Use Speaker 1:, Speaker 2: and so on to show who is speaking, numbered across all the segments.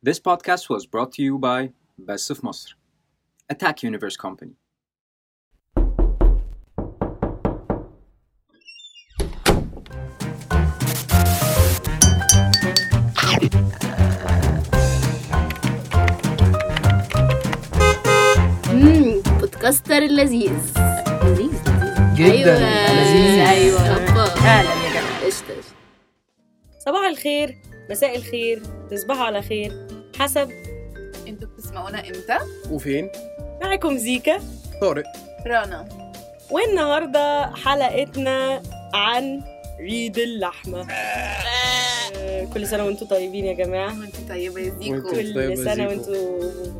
Speaker 1: This podcast was brought to you by Best of Mosr, Attack Universe Company.
Speaker 2: امم بودكاستر اللذيذ لذيذ
Speaker 3: جدا
Speaker 4: أيوة.
Speaker 3: لذيذ.
Speaker 2: ايوه أبا.
Speaker 4: فعلا يا جماعه
Speaker 2: قشطة قشطة.
Speaker 4: صباح الخير مساء الخير تصبحوا على خير حسب
Speaker 5: انتوا بتسمعونا امتى؟
Speaker 3: وفين؟
Speaker 4: معكم زيكا
Speaker 3: طارق
Speaker 5: رنا
Speaker 4: والنهارده حلقتنا عن عيد اللحمه آه، كل سنه وانتوا طيبين يا جماعه
Speaker 5: وانتوا طيبه يا
Speaker 3: وانتوا
Speaker 5: زيكو
Speaker 3: طيبة طيب يا
Speaker 4: كل سنه
Speaker 3: زيكو.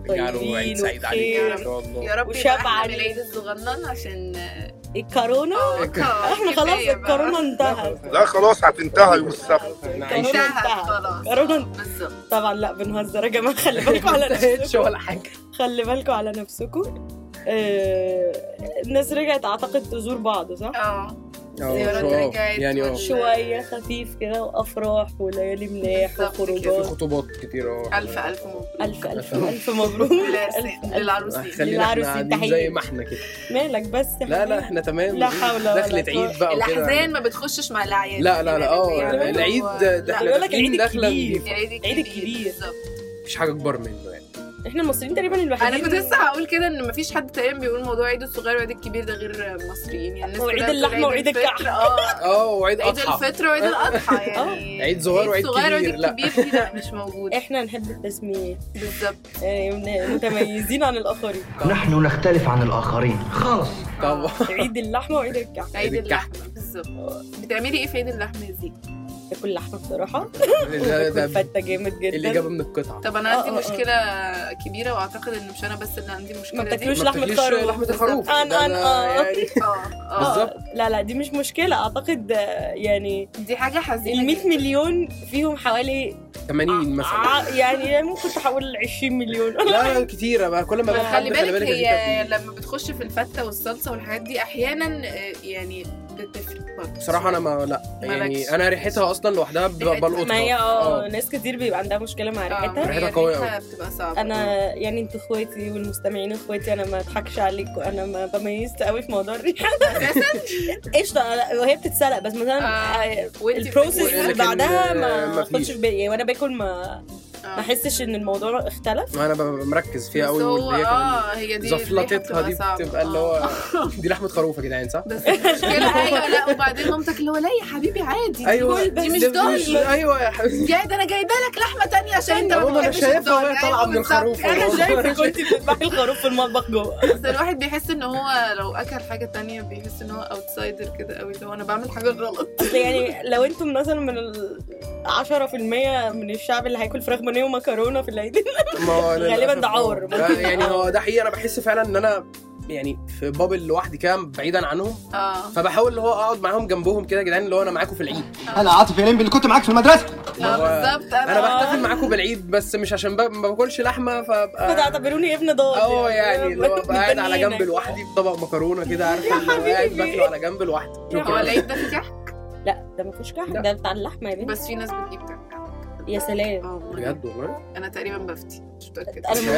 Speaker 4: وانتوا
Speaker 3: اجعلوا عيد
Speaker 4: طيبين
Speaker 3: سعيد عليكم ان
Speaker 4: وبخير
Speaker 3: شاء
Speaker 5: يا
Speaker 3: الله
Speaker 5: رب
Speaker 4: وشبع
Speaker 5: يبقى احنا
Speaker 4: عليك.
Speaker 5: بالعيد الصغنن عشان آه،
Speaker 4: الكورونا
Speaker 5: آه،
Speaker 4: احنا خلاص
Speaker 5: كفاية بقى.
Speaker 4: الكورونا انتهت
Speaker 6: لا خلاص هتنتهي يوم السبت
Speaker 3: نعيش.
Speaker 4: الكورونا
Speaker 5: انتهت
Speaker 4: انتهت
Speaker 5: خلاص
Speaker 4: كورونا.
Speaker 5: بالظبط
Speaker 4: طبعا لا بنهزر يا جماعه خلي بالكم على
Speaker 3: انتهتش
Speaker 4: نفسكم
Speaker 3: ولا حاجه
Speaker 4: خلي بالكم على نفسكم آه، الناس رجعت اعتقد تزور بعض صح؟
Speaker 5: اه
Speaker 3: اه
Speaker 5: زيارات
Speaker 3: شو-
Speaker 5: رجعت
Speaker 3: يعني اه
Speaker 5: وال-
Speaker 4: شوية خفيف كده وأفراح وليالي ملاح
Speaker 5: بالظبط كده.
Speaker 3: في
Speaker 4: وخروجات
Speaker 3: خطوبات كتير اه
Speaker 5: الف الف مبروك
Speaker 4: ألف ألف ألف مبروك ألف- ألف.
Speaker 5: للعروسين
Speaker 3: خلينا
Speaker 4: للعروس
Speaker 3: احنا قاعدين
Speaker 4: التحية.
Speaker 3: زي ما احنا كده
Speaker 4: مالك بس
Speaker 3: لا
Speaker 4: يا
Speaker 3: لا
Speaker 4: حبيبي؟
Speaker 3: احنا تمام
Speaker 4: لا حول ولا
Speaker 3: دخلة
Speaker 4: قوة.
Speaker 3: عيد بقى وكده
Speaker 5: الاحزان ما بتخشش مع الاعياد
Speaker 3: لا لا لا اه
Speaker 5: يعني
Speaker 3: يعني العيد ده ده احنا
Speaker 4: بيقول لك العيد
Speaker 3: داخلين دخله
Speaker 4: الكبير.
Speaker 3: نضيفة.
Speaker 5: العيد
Speaker 4: العيد الكبير.
Speaker 5: الكبير بالظبط.
Speaker 3: مفيش حاجه اكبر منه يعني
Speaker 4: احنا المصريين تقريبا الوحيدين
Speaker 5: انا كنت لسه هقول كده ان مفيش حد تقريبا بيقول موضوع عيد الصغير وعيد الكبير ده غير المصريين يعني الناس
Speaker 4: وعيد
Speaker 5: كلها بتقول
Speaker 4: اللحمة وعيد
Speaker 5: الفطر.
Speaker 4: الكعك.
Speaker 5: اه
Speaker 3: اه وعيد
Speaker 5: عيد
Speaker 3: اضحى
Speaker 5: الفطر وعيد الاضحى يعني
Speaker 3: أه. عيد صغير وعيد
Speaker 5: صغير
Speaker 3: كبير، لا.
Speaker 5: وعيد كبير دي لا مش موجود
Speaker 4: احنا نحب التسمية
Speaker 5: بالظبط
Speaker 4: يعني من- متميزين عن الآخرين
Speaker 7: نحن نختلف عن الآخرين خالص
Speaker 3: طبعا
Speaker 4: عيد اللحمة وعيد الكعك
Speaker 5: آه،
Speaker 3: عيد
Speaker 5: عيد
Speaker 3: الكحك.
Speaker 5: اللحمه بالظبط بتعملي ايه في عيد اللحمه يا زيكو؟
Speaker 4: باكل لحمة بصراحة
Speaker 3: ده- ده
Speaker 4: فتة جامد
Speaker 3: اللي
Speaker 4: جدا
Speaker 3: جابه من القطعه
Speaker 5: طب انا
Speaker 4: آه،
Speaker 5: عندي
Speaker 3: أه.
Speaker 4: آه، آه.
Speaker 5: مشكله كبيره واعتقد ان مش انا بس اللي عندي آه، مشكله
Speaker 4: ما بتاكلوش
Speaker 3: ما
Speaker 4: لحمة
Speaker 3: بتاكليش
Speaker 4: خروف.
Speaker 3: لحمه الخروف
Speaker 4: أنا-
Speaker 3: ده
Speaker 4: أنا- آه.
Speaker 3: يعني
Speaker 5: دي اه اه
Speaker 3: بالظبط.
Speaker 4: آه، لا لا دي مش مشكلة أعتقد آه، يعني
Speaker 5: دي حاجه حزينه
Speaker 4: ال 100
Speaker 5: جداً.
Speaker 4: مليون فيهم حوالي آه،
Speaker 3: 80 مثلا
Speaker 4: ع- يعني ممكن تحول 20 مليون
Speaker 3: لا لا، كتيرة بقى كل ما
Speaker 5: ما
Speaker 3: بقى
Speaker 5: خلي
Speaker 3: حد،
Speaker 5: بالك
Speaker 3: يا زيكا
Speaker 5: هي
Speaker 3: بتقول.
Speaker 5: لما بتخش في الفته والصلصه والحاجات دي احيانا آه، يعني بتفرق برضه
Speaker 3: بصراحة أنا ما لا
Speaker 5: مالكش.
Speaker 3: يعني أنا ريحتها أصلا لوحدها ب-
Speaker 5: ريحتها.
Speaker 3: بلقطها
Speaker 4: ما هي اه
Speaker 3: آه.
Speaker 4: ناس كتير بيبقى عندها مشكله مع
Speaker 5: آه،
Speaker 4: ريحتها
Speaker 3: ريحتها
Speaker 5: هي
Speaker 3: قوية
Speaker 5: ريحتها بتبقى صعبه
Speaker 4: انا يعني انتوا اخواتي والمستمعين اخواتي انا ما اضحكش عليكم انا ما بميزت قوي في موضوع الريحه
Speaker 5: اساسا
Speaker 4: قشطه أنا- وهي بتتسلق بس مثلا
Speaker 5: آه. إيه،
Speaker 4: آه،
Speaker 5: وانت
Speaker 4: البروسيس
Speaker 3: بتقولي
Speaker 4: اللي
Speaker 3: لكن،
Speaker 4: بعدها
Speaker 3: آه،
Speaker 4: ما
Speaker 3: ما فيش.
Speaker 4: اخدش في بالي يعني وانا باكل ما ما احسش ان الموضوع اختلف
Speaker 3: ما أنا ببقى مركز فيها
Speaker 5: بس
Speaker 3: قوي
Speaker 5: هو
Speaker 3: واللي هي كمان
Speaker 5: اه هي دي
Speaker 3: زفلطتها دي
Speaker 5: صعبة. آه،
Speaker 3: بتبقى اللي هو دي لحمة خروف يا جدعان صح؟
Speaker 5: بس المشكلة ايوه لا وبعدين مامتك اللي هو لا يا حبيبي عادي
Speaker 3: أيوه
Speaker 5: دي مش
Speaker 3: ده
Speaker 5: ضاني
Speaker 3: أيوه يا حبيبتي
Speaker 5: يا ده انا جايبه لك لحمه تانية عشان انت
Speaker 3: ماما
Speaker 5: ما
Speaker 3: أيوة، أنا
Speaker 5: بتحبش
Speaker 3: شايفها
Speaker 5: الضاني.
Speaker 3: وهي طالعة
Speaker 5: أيوة
Speaker 3: من
Speaker 5: بالظبط.
Speaker 3: الخروف
Speaker 5: انا
Speaker 3: والله.
Speaker 5: شايفة.
Speaker 4: شايفه كنت بتذبحي الخروف في المطبخ جوه
Speaker 5: بس الواحد بيحس ان هو لو اكل حاجه تانية بيحس ان هو اوتسايدر كده قوي اللي هو انا بعمل حاجه غلط
Speaker 4: اصل يعني لو انتم مثلا من ال 10% من الشعب اللي هياكل فراخ بانيه ومكرونه في العيد
Speaker 3: ما هو أنا
Speaker 4: غالباً
Speaker 3: للأسف
Speaker 4: ده عار.
Speaker 3: آه. ده يعني هو ده حقيقي أنا بحس فعلا إن أنا يعني في بابل لوحدي كده بعيدا عنهم
Speaker 5: اه
Speaker 3: فبحاول اللي هو اقعد معاهم جنبهم كده يا جدعان اللي هو انا معاكم في العيد
Speaker 7: أنا عاطف يا لمبي اللي كنت معاك في المدرسة
Speaker 5: اه
Speaker 3: ما هو-
Speaker 5: بالظبط
Speaker 3: انا
Speaker 5: انا
Speaker 3: بحتفل معاكم بالعيد بس مش عشان ب- ما باكلش لحمه فابقى
Speaker 4: فتعتبروني ابن ضاد
Speaker 3: اه يعني اللي هو أبقى قاعد على جنب
Speaker 4: بنينك.
Speaker 3: لوحدي بطبق مكرونه كده عارفه اللي هو قاعد باكله على جنب لوحدي
Speaker 5: هو
Speaker 3: شكرا
Speaker 5: العيد ده في كحك
Speaker 4: لا ده ما فيهوش كحك
Speaker 3: لا.
Speaker 4: ده بتاع اللحمه يا بنت
Speaker 5: بس في ناس بتجيب كحك
Speaker 4: يا سلام
Speaker 5: اه والله.
Speaker 3: آه، بجد والله
Speaker 5: انا تقريبا بفتي مش متاكده
Speaker 4: انا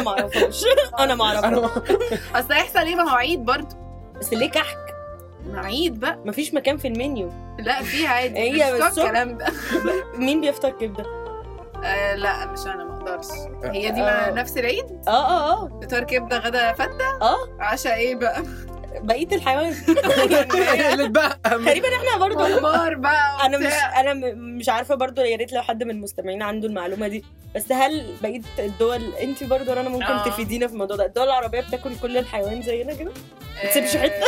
Speaker 4: ما- انا مش- انا ما اعرفهاش انا ما
Speaker 3: انا
Speaker 4: اعرفهاش
Speaker 5: اصل هيحصل ايه ما هو عيد برضه
Speaker 4: بس ليه كحك
Speaker 5: ما عيد بقى
Speaker 4: ما فيش مكان في المنيو
Speaker 5: لا في عادي
Speaker 4: هي
Speaker 5: مش بتوع
Speaker 4: بالصبح.
Speaker 5: الكلام ده
Speaker 4: مين بيفطر كبده
Speaker 5: آه لا مش انا ما اقدرش هي دي
Speaker 4: آه.
Speaker 5: مع نفس العيد
Speaker 4: اه اه اه
Speaker 5: فطار كبده غدا فته
Speaker 4: اه
Speaker 5: عشاء ايه بقى
Speaker 4: بقيه الحيوان
Speaker 3: اللي اتبقى
Speaker 4: تقريبا احنا برضه
Speaker 5: ممبار بقى
Speaker 4: انا مش
Speaker 5: وبتاع.
Speaker 4: انا م- مش عارفه برضو يا ريت لو حد من المستمعين عنده المعلومه دي بس هل بقيه الدول انت برضو رنا ممكن
Speaker 5: آه.
Speaker 4: تفيدينا في الموضوع ده الدول العربيه بتاكل كل الحيوان زينا كده
Speaker 5: آه،
Speaker 4: تسيبش حته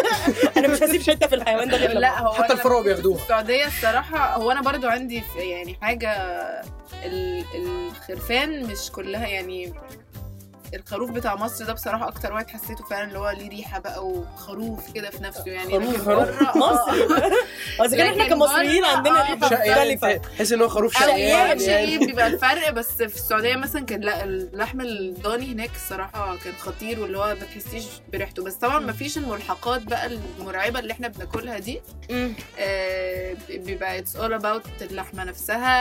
Speaker 4: انا مش هسيب حته في الحيوان ده غير
Speaker 5: لا هو
Speaker 3: حتى
Speaker 5: أنا
Speaker 3: الفروع بياخدوها
Speaker 5: السعوديه الصراحه هو انا برضو عندي في- يعني حاجه ال- الخرفان مش كلها يعني الخروف بتاع مصر ده بصراحه اكتر واحد حسيته فعلا اللي هو ليه ريحه بقى وخروف كده في نفسه يعني لكن
Speaker 4: خروف
Speaker 5: بره- آه،
Speaker 4: مصر بس كده احنا
Speaker 5: لكن آه،
Speaker 4: كمصريين
Speaker 5: بره-
Speaker 4: عندنا ريحه
Speaker 3: شقيان
Speaker 4: مختلفه
Speaker 3: يعني، تحس ان هو خروف
Speaker 5: او
Speaker 3: شقيان
Speaker 5: يعني
Speaker 3: يعني.
Speaker 5: شيء بيبقى الفرق بس في السعوديه مثلا كان لا اللحم الضاني هناك الصراحه كان خطير واللي هو ما تحسيش بريحته بس طبعا ما فيش الملحقات بقى المرعبه اللي احنا بناكلها دي
Speaker 4: مم.
Speaker 5: آه، بيبقى اتس اول اباوت اللحمه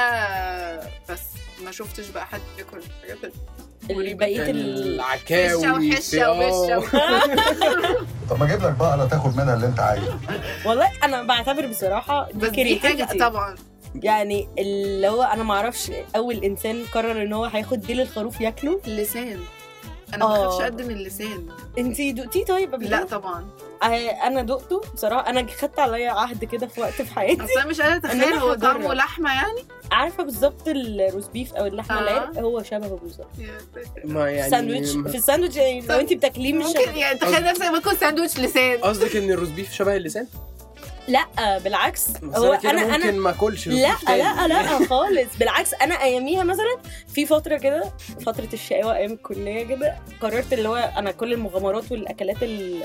Speaker 5: نفسها بس ما شفتش بقى حد بياكل حاجات
Speaker 4: بقيه ال
Speaker 3: يعني العكاوي
Speaker 5: حشه وحشه
Speaker 3: آه.
Speaker 5: ووشه
Speaker 6: طب ما اجيب لك بقره تاخد منها اللي انت عايزه
Speaker 4: والله انا بعتبر بصراحه
Speaker 5: بس دي حاجه
Speaker 4: creativity.
Speaker 5: طبعا
Speaker 4: يعني اللي هو انا ما اعرفش اول انسان قرر ان هو هياخد ديل الخروف ياكله
Speaker 5: اللسان انا ما
Speaker 4: آه.
Speaker 5: بخافش قدم اللسان
Speaker 4: انتي دقتيه طيب قبل
Speaker 5: لا
Speaker 4: كده؟
Speaker 5: طبعا
Speaker 4: آه، انا دقته بصراحه انا خدت عليا عهد كده في وقت في حياتي
Speaker 5: اصل انا مش قادره اتخيل
Speaker 4: أنا
Speaker 5: هو
Speaker 4: هجرب.
Speaker 5: طعمه لحمه يعني
Speaker 4: عارفه بالظبط الروز بيف او اللحمه
Speaker 5: آه.
Speaker 4: العرق هو شبهه بالظبط
Speaker 5: يا ساتر.
Speaker 3: ما
Speaker 4: يعني
Speaker 3: يعني
Speaker 4: ساندوتش في الساندوتش يعني لو
Speaker 5: طب
Speaker 4: انت بتاكليه مش
Speaker 5: ممكن
Speaker 4: شبه.
Speaker 5: يعني تخيل نفسك باكل ساندوتش لسان
Speaker 3: قصدك ان الروز بيف شبه اللسان؟
Speaker 4: لا بالعكس
Speaker 3: بس
Speaker 4: هو انا
Speaker 3: كده
Speaker 4: انا
Speaker 3: ممكن ما اكلش روز
Speaker 4: لا
Speaker 3: بيف تاني.
Speaker 4: لا لا خالص بالعكس انا اياميها مثلا في فتره كده فتره الشقاوه ايام الكليه كده قررت اللي هو انا كل المغامرات والاكلات ال-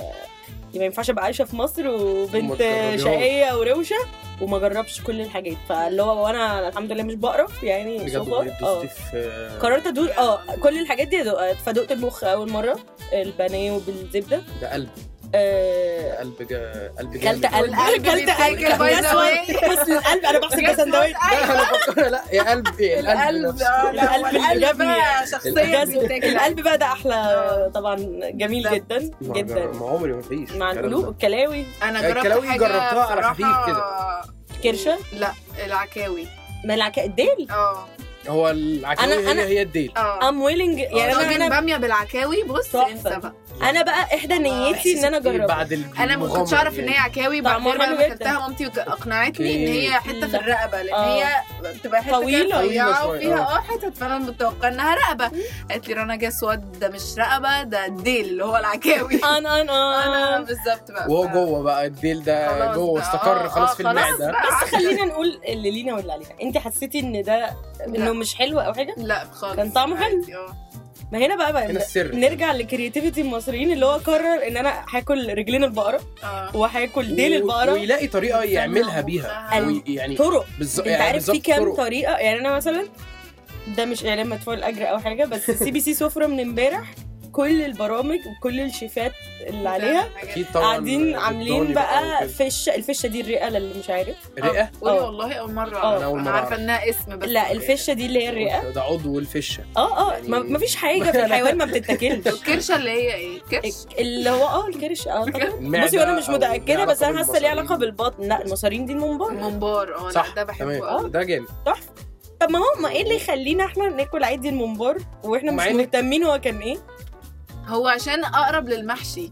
Speaker 4: اللي ما ينفعش ابقى عايشه في مصر وبنت
Speaker 3: متجربيهاش.
Speaker 4: شقيه وروشه وما جربش كل الحاجات فاللي هو وانا الحمد لله مش بقرف يعني
Speaker 3: بجد
Speaker 4: so far.
Speaker 3: والله آه، دوستي
Speaker 4: اه
Speaker 3: في
Speaker 4: قررت ادوق اه كل الحاجات دي ادوقها فدقت المخ اول مره البانيه وبالزبده
Speaker 3: ده قلب
Speaker 4: آه،
Speaker 3: قلب جا... قلب
Speaker 4: كلت
Speaker 3: جامد.
Speaker 4: قلب كلت
Speaker 5: بيتاكل
Speaker 4: قلب
Speaker 5: باي ذا واي.
Speaker 4: بس القلب انا بحسب ده سندوتش
Speaker 3: طيب، لا انا بفكر لا يا قلب ايه القلب
Speaker 5: القلب
Speaker 4: آه.
Speaker 3: نفسه.
Speaker 5: اه لا
Speaker 4: القلب
Speaker 5: القلب
Speaker 4: الجبني.
Speaker 5: بقى شخصيا
Speaker 4: الجزم.
Speaker 5: بيتاكل
Speaker 4: القلب بقى ده احلى
Speaker 5: آه.
Speaker 4: طبعا جميل
Speaker 5: لا.
Speaker 4: جدا
Speaker 3: ما-
Speaker 4: جدا
Speaker 3: ما عمري ما فيش
Speaker 4: مع
Speaker 3: الكلام
Speaker 4: القلوب
Speaker 3: ده.
Speaker 4: الكلاوي
Speaker 5: انا جربت
Speaker 3: الكلاوي
Speaker 5: حاجه
Speaker 3: جربتها على
Speaker 5: بصراحة-
Speaker 3: خفيف
Speaker 4: كرشه
Speaker 5: لا العكاوي
Speaker 4: ملعقه الديل
Speaker 5: اه
Speaker 3: هو العكاوي
Speaker 4: أنا-
Speaker 3: هي
Speaker 4: أنا-
Speaker 3: هي الديل
Speaker 5: اه
Speaker 4: ام ويلينج يعني
Speaker 5: طاجن
Speaker 3: آه.
Speaker 4: انا انا
Speaker 5: باميه بالعكاوي بص
Speaker 4: تحفة.
Speaker 5: انسى بقى
Speaker 4: انا بقى احدى نيتي ان انا اجرب
Speaker 3: بعد يعني.
Speaker 5: انا ما كنتش اعرف ان هي عكاوي بعد
Speaker 4: طعمها
Speaker 5: كده بقى
Speaker 4: حلو
Speaker 5: لما
Speaker 4: جدا.
Speaker 5: اكلتها مامتي وك- اقنعتني ان هي حته في
Speaker 4: إيه؟ لا.
Speaker 5: الرقبه لان
Speaker 4: آه.
Speaker 5: هي بتبقى حته كده
Speaker 4: طويلة.
Speaker 5: رفيعة
Speaker 3: طويلة شوية،
Speaker 5: وفيها
Speaker 3: آه.
Speaker 5: اه حتت فانا متوقع انها رقبه قالت لي رنا جاس واد ده مش رقبه ده الديل اللي هو العكاوي
Speaker 4: انا
Speaker 5: انا
Speaker 4: انا
Speaker 5: بالظبط بقى
Speaker 3: وهو
Speaker 5: ف-
Speaker 3: جوه بقى الديل ده
Speaker 5: خلاص
Speaker 3: جوه
Speaker 5: بقى.
Speaker 3: استقر
Speaker 5: آه،
Speaker 3: خلاص
Speaker 5: آه،
Speaker 3: في
Speaker 5: خلاص
Speaker 3: المعده
Speaker 5: بقى.
Speaker 4: بس خلينا نقول اللي لينا واللي علينا انت حسيتي ان ده
Speaker 5: لا.
Speaker 4: انه مش حلو او حاجه
Speaker 5: لا خالص
Speaker 4: كان طعمه حلو.
Speaker 5: عادي، اه
Speaker 4: ما هنا بقى, بقى
Speaker 3: هنا السر
Speaker 4: نرجع لكرياتيفيتي المصريين اللي هو قرر ان انا هاكل رجلين البقره
Speaker 5: اه
Speaker 4: وهاكل ديل
Speaker 3: و-
Speaker 4: البقره
Speaker 3: ويلاقي طريقه يعملها بيها
Speaker 5: قلب.
Speaker 3: وي- يعني
Speaker 4: طرق
Speaker 3: بالظبط
Speaker 4: انت
Speaker 3: يعني
Speaker 4: عارف في
Speaker 3: بالظبط
Speaker 4: كام
Speaker 3: طرق.
Speaker 4: طريقه يعني انا مثلا ده مش اعلان مدفوع الاجر او حاجه بس سي بي سي سفره من امبارح كل البرامج وكل الشيفات اللي عليها
Speaker 3: اكيد طبعا
Speaker 4: قاعدين عاملين
Speaker 3: الضاني
Speaker 4: بقى
Speaker 3: وكده.
Speaker 4: فشه الفشه دي الرئه للي مش عارف
Speaker 3: رئه
Speaker 5: قولي
Speaker 4: آه.
Speaker 5: والله اول مره
Speaker 4: آه.
Speaker 3: أنا أول مرة
Speaker 5: عارفه
Speaker 3: أعرف.
Speaker 5: انها اسم بس
Speaker 4: لا الفشه دي اللي هي الرئه
Speaker 3: ده عضو الفشه
Speaker 4: اه اه
Speaker 3: يعني-
Speaker 4: ما- مفيش حاجه في الحيوان ما بتتاكلش
Speaker 5: الكرشه اللي هي ايه كرش
Speaker 4: اللي هو اه الكرش اعتقد
Speaker 3: المعدة
Speaker 4: بصي انا مش
Speaker 3: أو
Speaker 4: متاكده
Speaker 3: ليها
Speaker 4: بس انا
Speaker 3: علاقة
Speaker 4: حاسه ليها
Speaker 3: بالمصارين.
Speaker 4: علاقه بالبطن لا المصارين دي الممبار
Speaker 5: ممبار اه لا
Speaker 3: صح
Speaker 5: ده بحبه
Speaker 4: آه.
Speaker 3: تمام.
Speaker 5: قوي.
Speaker 3: ده جامد
Speaker 4: طب ما هو ما ايه اللي يخلينا احنا ناكل عادي الممبار واحنا مش
Speaker 3: مع إن-
Speaker 4: مهتمين هو كان ايه
Speaker 5: هو عشان اقرب للمحشي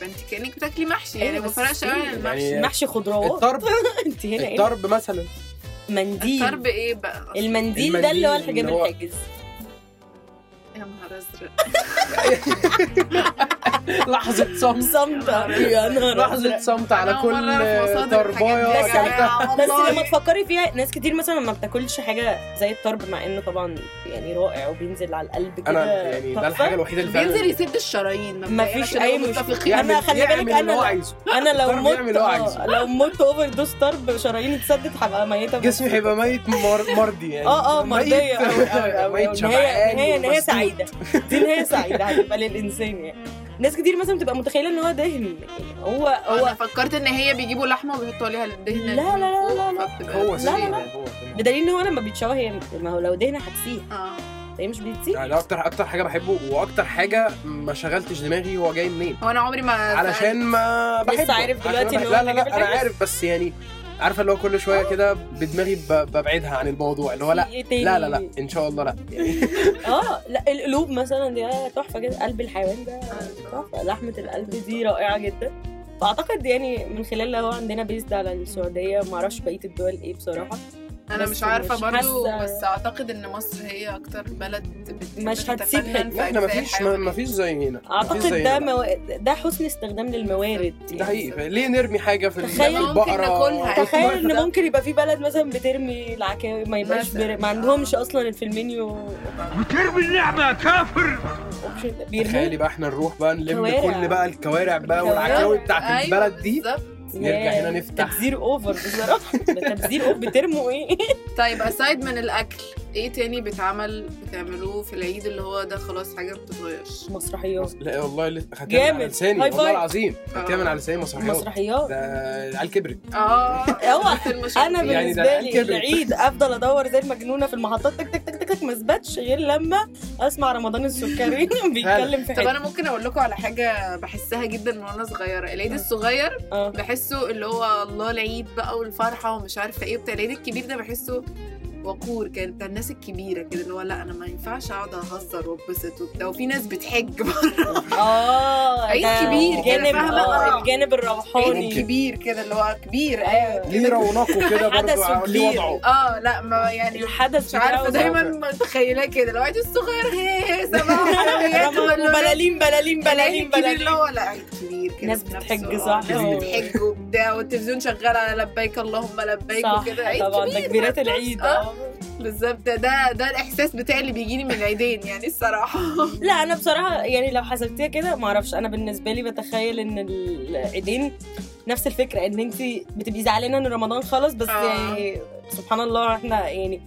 Speaker 5: فانت كانك بتاكلي محشي يعني
Speaker 4: أيوة،
Speaker 5: ما
Speaker 4: بس
Speaker 5: فرقش قوي عن
Speaker 4: يعني-
Speaker 5: المحشي
Speaker 3: يعني
Speaker 4: محشي خضروات
Speaker 3: الطرب
Speaker 4: انت هنا ايه
Speaker 3: الطرب مثلا
Speaker 4: منديل
Speaker 5: الطرب ايه بقى
Speaker 4: المنديل ده اللي هو
Speaker 3: المنديل
Speaker 4: الحجاب
Speaker 3: اللي هو-
Speaker 4: الحاجز
Speaker 5: يا نهار ازرق
Speaker 3: لحظه صمت
Speaker 4: صمت يا نهار أزرق.
Speaker 3: لحظه صمت على
Speaker 5: أنا أول مرة
Speaker 3: كل
Speaker 5: أعرف مصادر الحاجات
Speaker 3: طربايه
Speaker 5: دي
Speaker 3: اكلتها
Speaker 5: يا جماعة،
Speaker 4: بس
Speaker 5: والله.
Speaker 4: لما تفكري فيها ناس كتير مثلا ما بتاكلش حاجه زي الطرب مع انه طبعا يعني رائع وبينزل على القلب كده
Speaker 3: انا يعني ده
Speaker 4: تحفة.
Speaker 3: الحاجه الوحيده اللي فعلا
Speaker 5: بينزل يسد الشرايين مبدئياً
Speaker 4: مفيش
Speaker 5: عشان
Speaker 4: أي
Speaker 5: نبقى
Speaker 4: مشكلة.
Speaker 5: متفقين.
Speaker 4: أنا خلي بالك
Speaker 3: يعمل اللي هو
Speaker 4: أنا-
Speaker 3: عايزه
Speaker 4: انا لو
Speaker 3: الطرب
Speaker 4: مت
Speaker 3: يعمل اللي هو عايزه.
Speaker 4: آه، لو مت اوفر دوز طرب شراييني اتسدت هبقى ميته
Speaker 3: جسمي هيبقى ميت مر- مرضي يعني
Speaker 4: اه اه مرضيه
Speaker 3: ميت-
Speaker 4: قوي قوي قوي
Speaker 3: ميت
Speaker 4: نهايه
Speaker 3: شبعان
Speaker 4: نهايه نهايه
Speaker 3: ومسدود.
Speaker 4: سعيده دي نهايه سعيده هتبقى للانسان يعني ناس كتير مثلا بتبقى متخيله ان هو دهن يعني هو
Speaker 5: انا
Speaker 4: هو
Speaker 5: فكرت ان هي بيجيبوا لحمه وبيحطوا عليها الدهن
Speaker 4: لا، لا، لا، لا، لا.
Speaker 3: هو
Speaker 4: لا، لا،
Speaker 3: سيء
Speaker 4: لا.
Speaker 3: هو سيء.
Speaker 4: بدليل ان هو لما بيتشوى هي ما هو لو دهنه هتسيح
Speaker 5: اه
Speaker 4: هي مش بتسيح
Speaker 3: يعني ده اكتر اكتر حاجه بحبه واكتر حاجه ما شغلتش دماغي هو جاي منين
Speaker 5: هو انا عمري ما
Speaker 3: علشان ما
Speaker 4: لسه
Speaker 3: بحبه
Speaker 4: عارف
Speaker 3: عشان
Speaker 4: دلوقتي
Speaker 3: أنا-
Speaker 4: إن هو
Speaker 3: لا لا
Speaker 4: الحاجة
Speaker 3: لا انا
Speaker 4: بالحاجة؟
Speaker 3: عارف بس يعني عارفه اللي هو كل شويه كده بدماغي ب- ببعدها عن الموضوع اللي هو لا
Speaker 4: في إيه تاني؟
Speaker 3: لا لا لا ان شاء الله لا
Speaker 4: اه لا القلوب مثلا دي آه، تحفه جدا قلب الحيوان ده تحفه لحمه القلب دي رائعه جدا فاعتقد يعني من خلال هو عندنا بيزد على السعوديه ما اعرفش بقيه الدول ايه بصراحه
Speaker 5: انا
Speaker 4: بس
Speaker 5: مش عارفه
Speaker 4: مش
Speaker 5: برضو
Speaker 4: حاسة-
Speaker 5: بس اعتقد ان مصر هي اكتر بلد بت-
Speaker 4: مش هتسيب
Speaker 5: بتتفنن في
Speaker 3: لا، احنا
Speaker 5: أجزاء
Speaker 3: مفيش
Speaker 5: الحيوانات.
Speaker 3: مفيش زي هنا مفيش
Speaker 4: اعتقد
Speaker 3: زي
Speaker 4: ده
Speaker 3: هنا.
Speaker 4: مو... ده حسن استخدام للموارد
Speaker 3: ده حقيقي ليه نرمي حاجه في ال-
Speaker 4: تخيل ممكن
Speaker 3: البقره
Speaker 5: ناكلها.
Speaker 4: تخيل
Speaker 5: ده-
Speaker 4: ان ممكن يبقى في بلد مثلا بترمي العكاوي ما يبقاش
Speaker 5: مثلاً.
Speaker 4: بر... ما عندهمش اصلا في المنيو بترمي اللعبه كافر
Speaker 3: تخيلي
Speaker 4: بيرموا
Speaker 3: بقى احنا نروح بقى نلم
Speaker 4: كوارع.
Speaker 3: كل بقى الكوارع بقى
Speaker 4: الكوارع.
Speaker 3: والعكاوي بتاعت
Speaker 5: أيوة
Speaker 3: البلد دي
Speaker 5: بالظبط.
Speaker 3: نرجع هنا نفتح.
Speaker 4: تبذير اوفر بصراحه ده تبذير اوفر بترموا ايه
Speaker 5: طيب اسايد من الاكل ايه تاني بيتعمل بتعملوه في العيد اللي هو ده خلاص حاجه ما بتتغيرش
Speaker 4: مسرحيات
Speaker 3: لا والله لسه خدتها من
Speaker 4: جامد.
Speaker 3: على لساني
Speaker 4: هاي
Speaker 3: والله
Speaker 4: فايف.
Speaker 3: العظيم خدتها من على لساني مسرحيات
Speaker 4: مسرحيات
Speaker 3: ده العيال كبرت
Speaker 5: اه
Speaker 4: هو
Speaker 5: في المشروب.
Speaker 4: انا
Speaker 3: يعني
Speaker 4: بالنسبه
Speaker 3: ده
Speaker 4: لي
Speaker 3: كبرت.
Speaker 4: العيد افضل ادور زي المجنونه في المحطات تك تك تك تك تك ما اثبتش غير لما اسمع رمضان السكري بيتكلم في
Speaker 5: طب
Speaker 4: حته
Speaker 5: انا ممكن اقول لكم على حاجه بحسها جدا من وانا صغيره العيد الصغير
Speaker 4: آه.
Speaker 5: بحسه اللي هو الله العيد بقى والفرحه ومش عارفه ايه وبتاع العيد الكبير ده بحسه وقور كان بتاع الناس الكبيره كده اللي هو لا انا ما ينفعش اقعد اهزر واتبسط وبتاع وفي ناس بتحج بره
Speaker 4: اه
Speaker 5: عيد
Speaker 4: ده
Speaker 5: كبير كده،
Speaker 4: الجانب
Speaker 5: فاهمة؟
Speaker 4: آه،
Speaker 5: آه.
Speaker 4: الجانب الروحاني آه.
Speaker 5: عيد كبير كده اللي هو كبير
Speaker 4: أيوة.
Speaker 5: ايوه
Speaker 3: ليه رونقه كده
Speaker 4: حدث
Speaker 3: برضه ليه
Speaker 4: كبير.
Speaker 3: وضعه
Speaker 5: اه لا ما يعني
Speaker 4: الحدث
Speaker 5: مش عارفه
Speaker 4: بتاعه
Speaker 5: دايما متخيلاه كده لو عيد الصغير هي هي صباح حلويات
Speaker 4: رمضان بلالين
Speaker 5: وبلالين
Speaker 4: بلالين بلالين
Speaker 5: اللي
Speaker 4: بلالين
Speaker 5: هو لا عيد كبير كده
Speaker 4: ناس
Speaker 5: في نفسه.
Speaker 4: بتحج
Speaker 5: آه،
Speaker 4: صح.
Speaker 5: ناس بتحج وبتاع والتلفزيون شغال على لبيك اللهم لبيك
Speaker 4: صح
Speaker 5: وكده عيد
Speaker 4: طبعا
Speaker 5: كبير
Speaker 4: تكبيرات العيد
Speaker 5: آه.
Speaker 4: آه.
Speaker 5: بالظبط ده ده ده الاحساس بتاعي اللي بيجيني من العيدين يعني الصراحه
Speaker 4: لا انا بصراحه يعني لو حسبتيها كده ما اعرفش انا بالنسبه لي بتخيل ان العيدين نفس الفكره ان انت بتبقي زعلانه ان رمضان خلص بس
Speaker 5: آه.
Speaker 4: يعني سبحان الله احنا يعني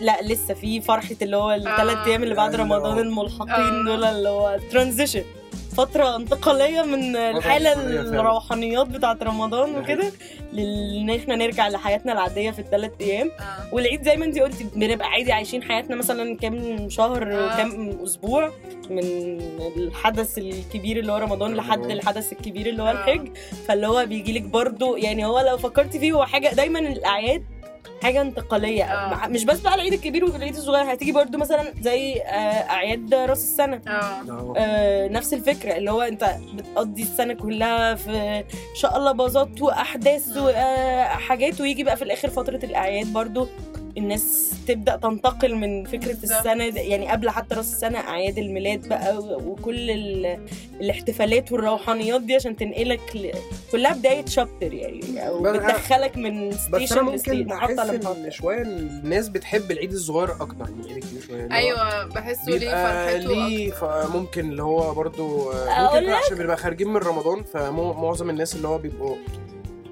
Speaker 4: لا لسه في فرحه اللي هو الثلاث
Speaker 5: آه.
Speaker 4: ايام اللي بعد
Speaker 3: أيوة.
Speaker 4: رمضان الملحقين
Speaker 5: آه.
Speaker 4: دول اللي هو ترانزيشن فترة انتقالية من الحالة
Speaker 3: انتقالية فعلا.
Speaker 4: الروحانيات بتاعت رمضان
Speaker 3: ده
Speaker 4: وكده لل- ان احنا نرجع لحياتنا العادية في الثلاث ايام
Speaker 5: آه.
Speaker 4: والعيد زي ما انت قلتي بنبقى عادي عايشين حياتنا مثلا كام شهر
Speaker 5: آه.
Speaker 4: وكام اسبوع من الحدث الكبير اللي هو رمضان لحد
Speaker 3: رمضان.
Speaker 4: الحدث الكبير اللي هو
Speaker 5: آه.
Speaker 4: الحج فاللي هو بيجي لك برضه يعني هو لو فكرتي فيه هو حاجه دايما الاعياد حاجه انتقاليه
Speaker 5: آه.
Speaker 4: مع- مش بس بقى العيد الكبير والعيد الصغير هتيجي برضه مثلا زي آه، اعياد راس السنه
Speaker 5: اه
Speaker 3: آه.
Speaker 4: آه، نفس الفكره اللي هو انت بتقضي السنه كلها في ان شاء الله باظات واحداث وحاجات ويجي بقى في الاخر فتره الاعياد برضو الناس تبدا تنتقل من فكره
Speaker 5: بالظبط.
Speaker 4: السنه دي- يعني قبل حتى راس السنه اعياد الميلاد بقى و- وكل ال- الاحتفالات والروحانيات دي عشان تنقلك ل... كلها بدايه شابتر يعني او
Speaker 3: بس أنا-
Speaker 4: بتدخلك من
Speaker 3: بس انا
Speaker 4: ستيشن
Speaker 3: ممكن
Speaker 4: لستيشن
Speaker 3: احس
Speaker 4: محطه
Speaker 3: ان
Speaker 4: لمحطه
Speaker 3: شويه الناس بتحب العيد الصغير اكتر من العيد الكبير شويه اللي هو
Speaker 5: ايوه بحسه ليه
Speaker 3: بيبقى
Speaker 5: فرحته
Speaker 3: ليه ف- ممكن اللي هو برضو آه،
Speaker 4: أقول
Speaker 3: ممكن يكون عشان بنبقى خارجين من رمضان فمعظم الناس اللي هو بيبقوا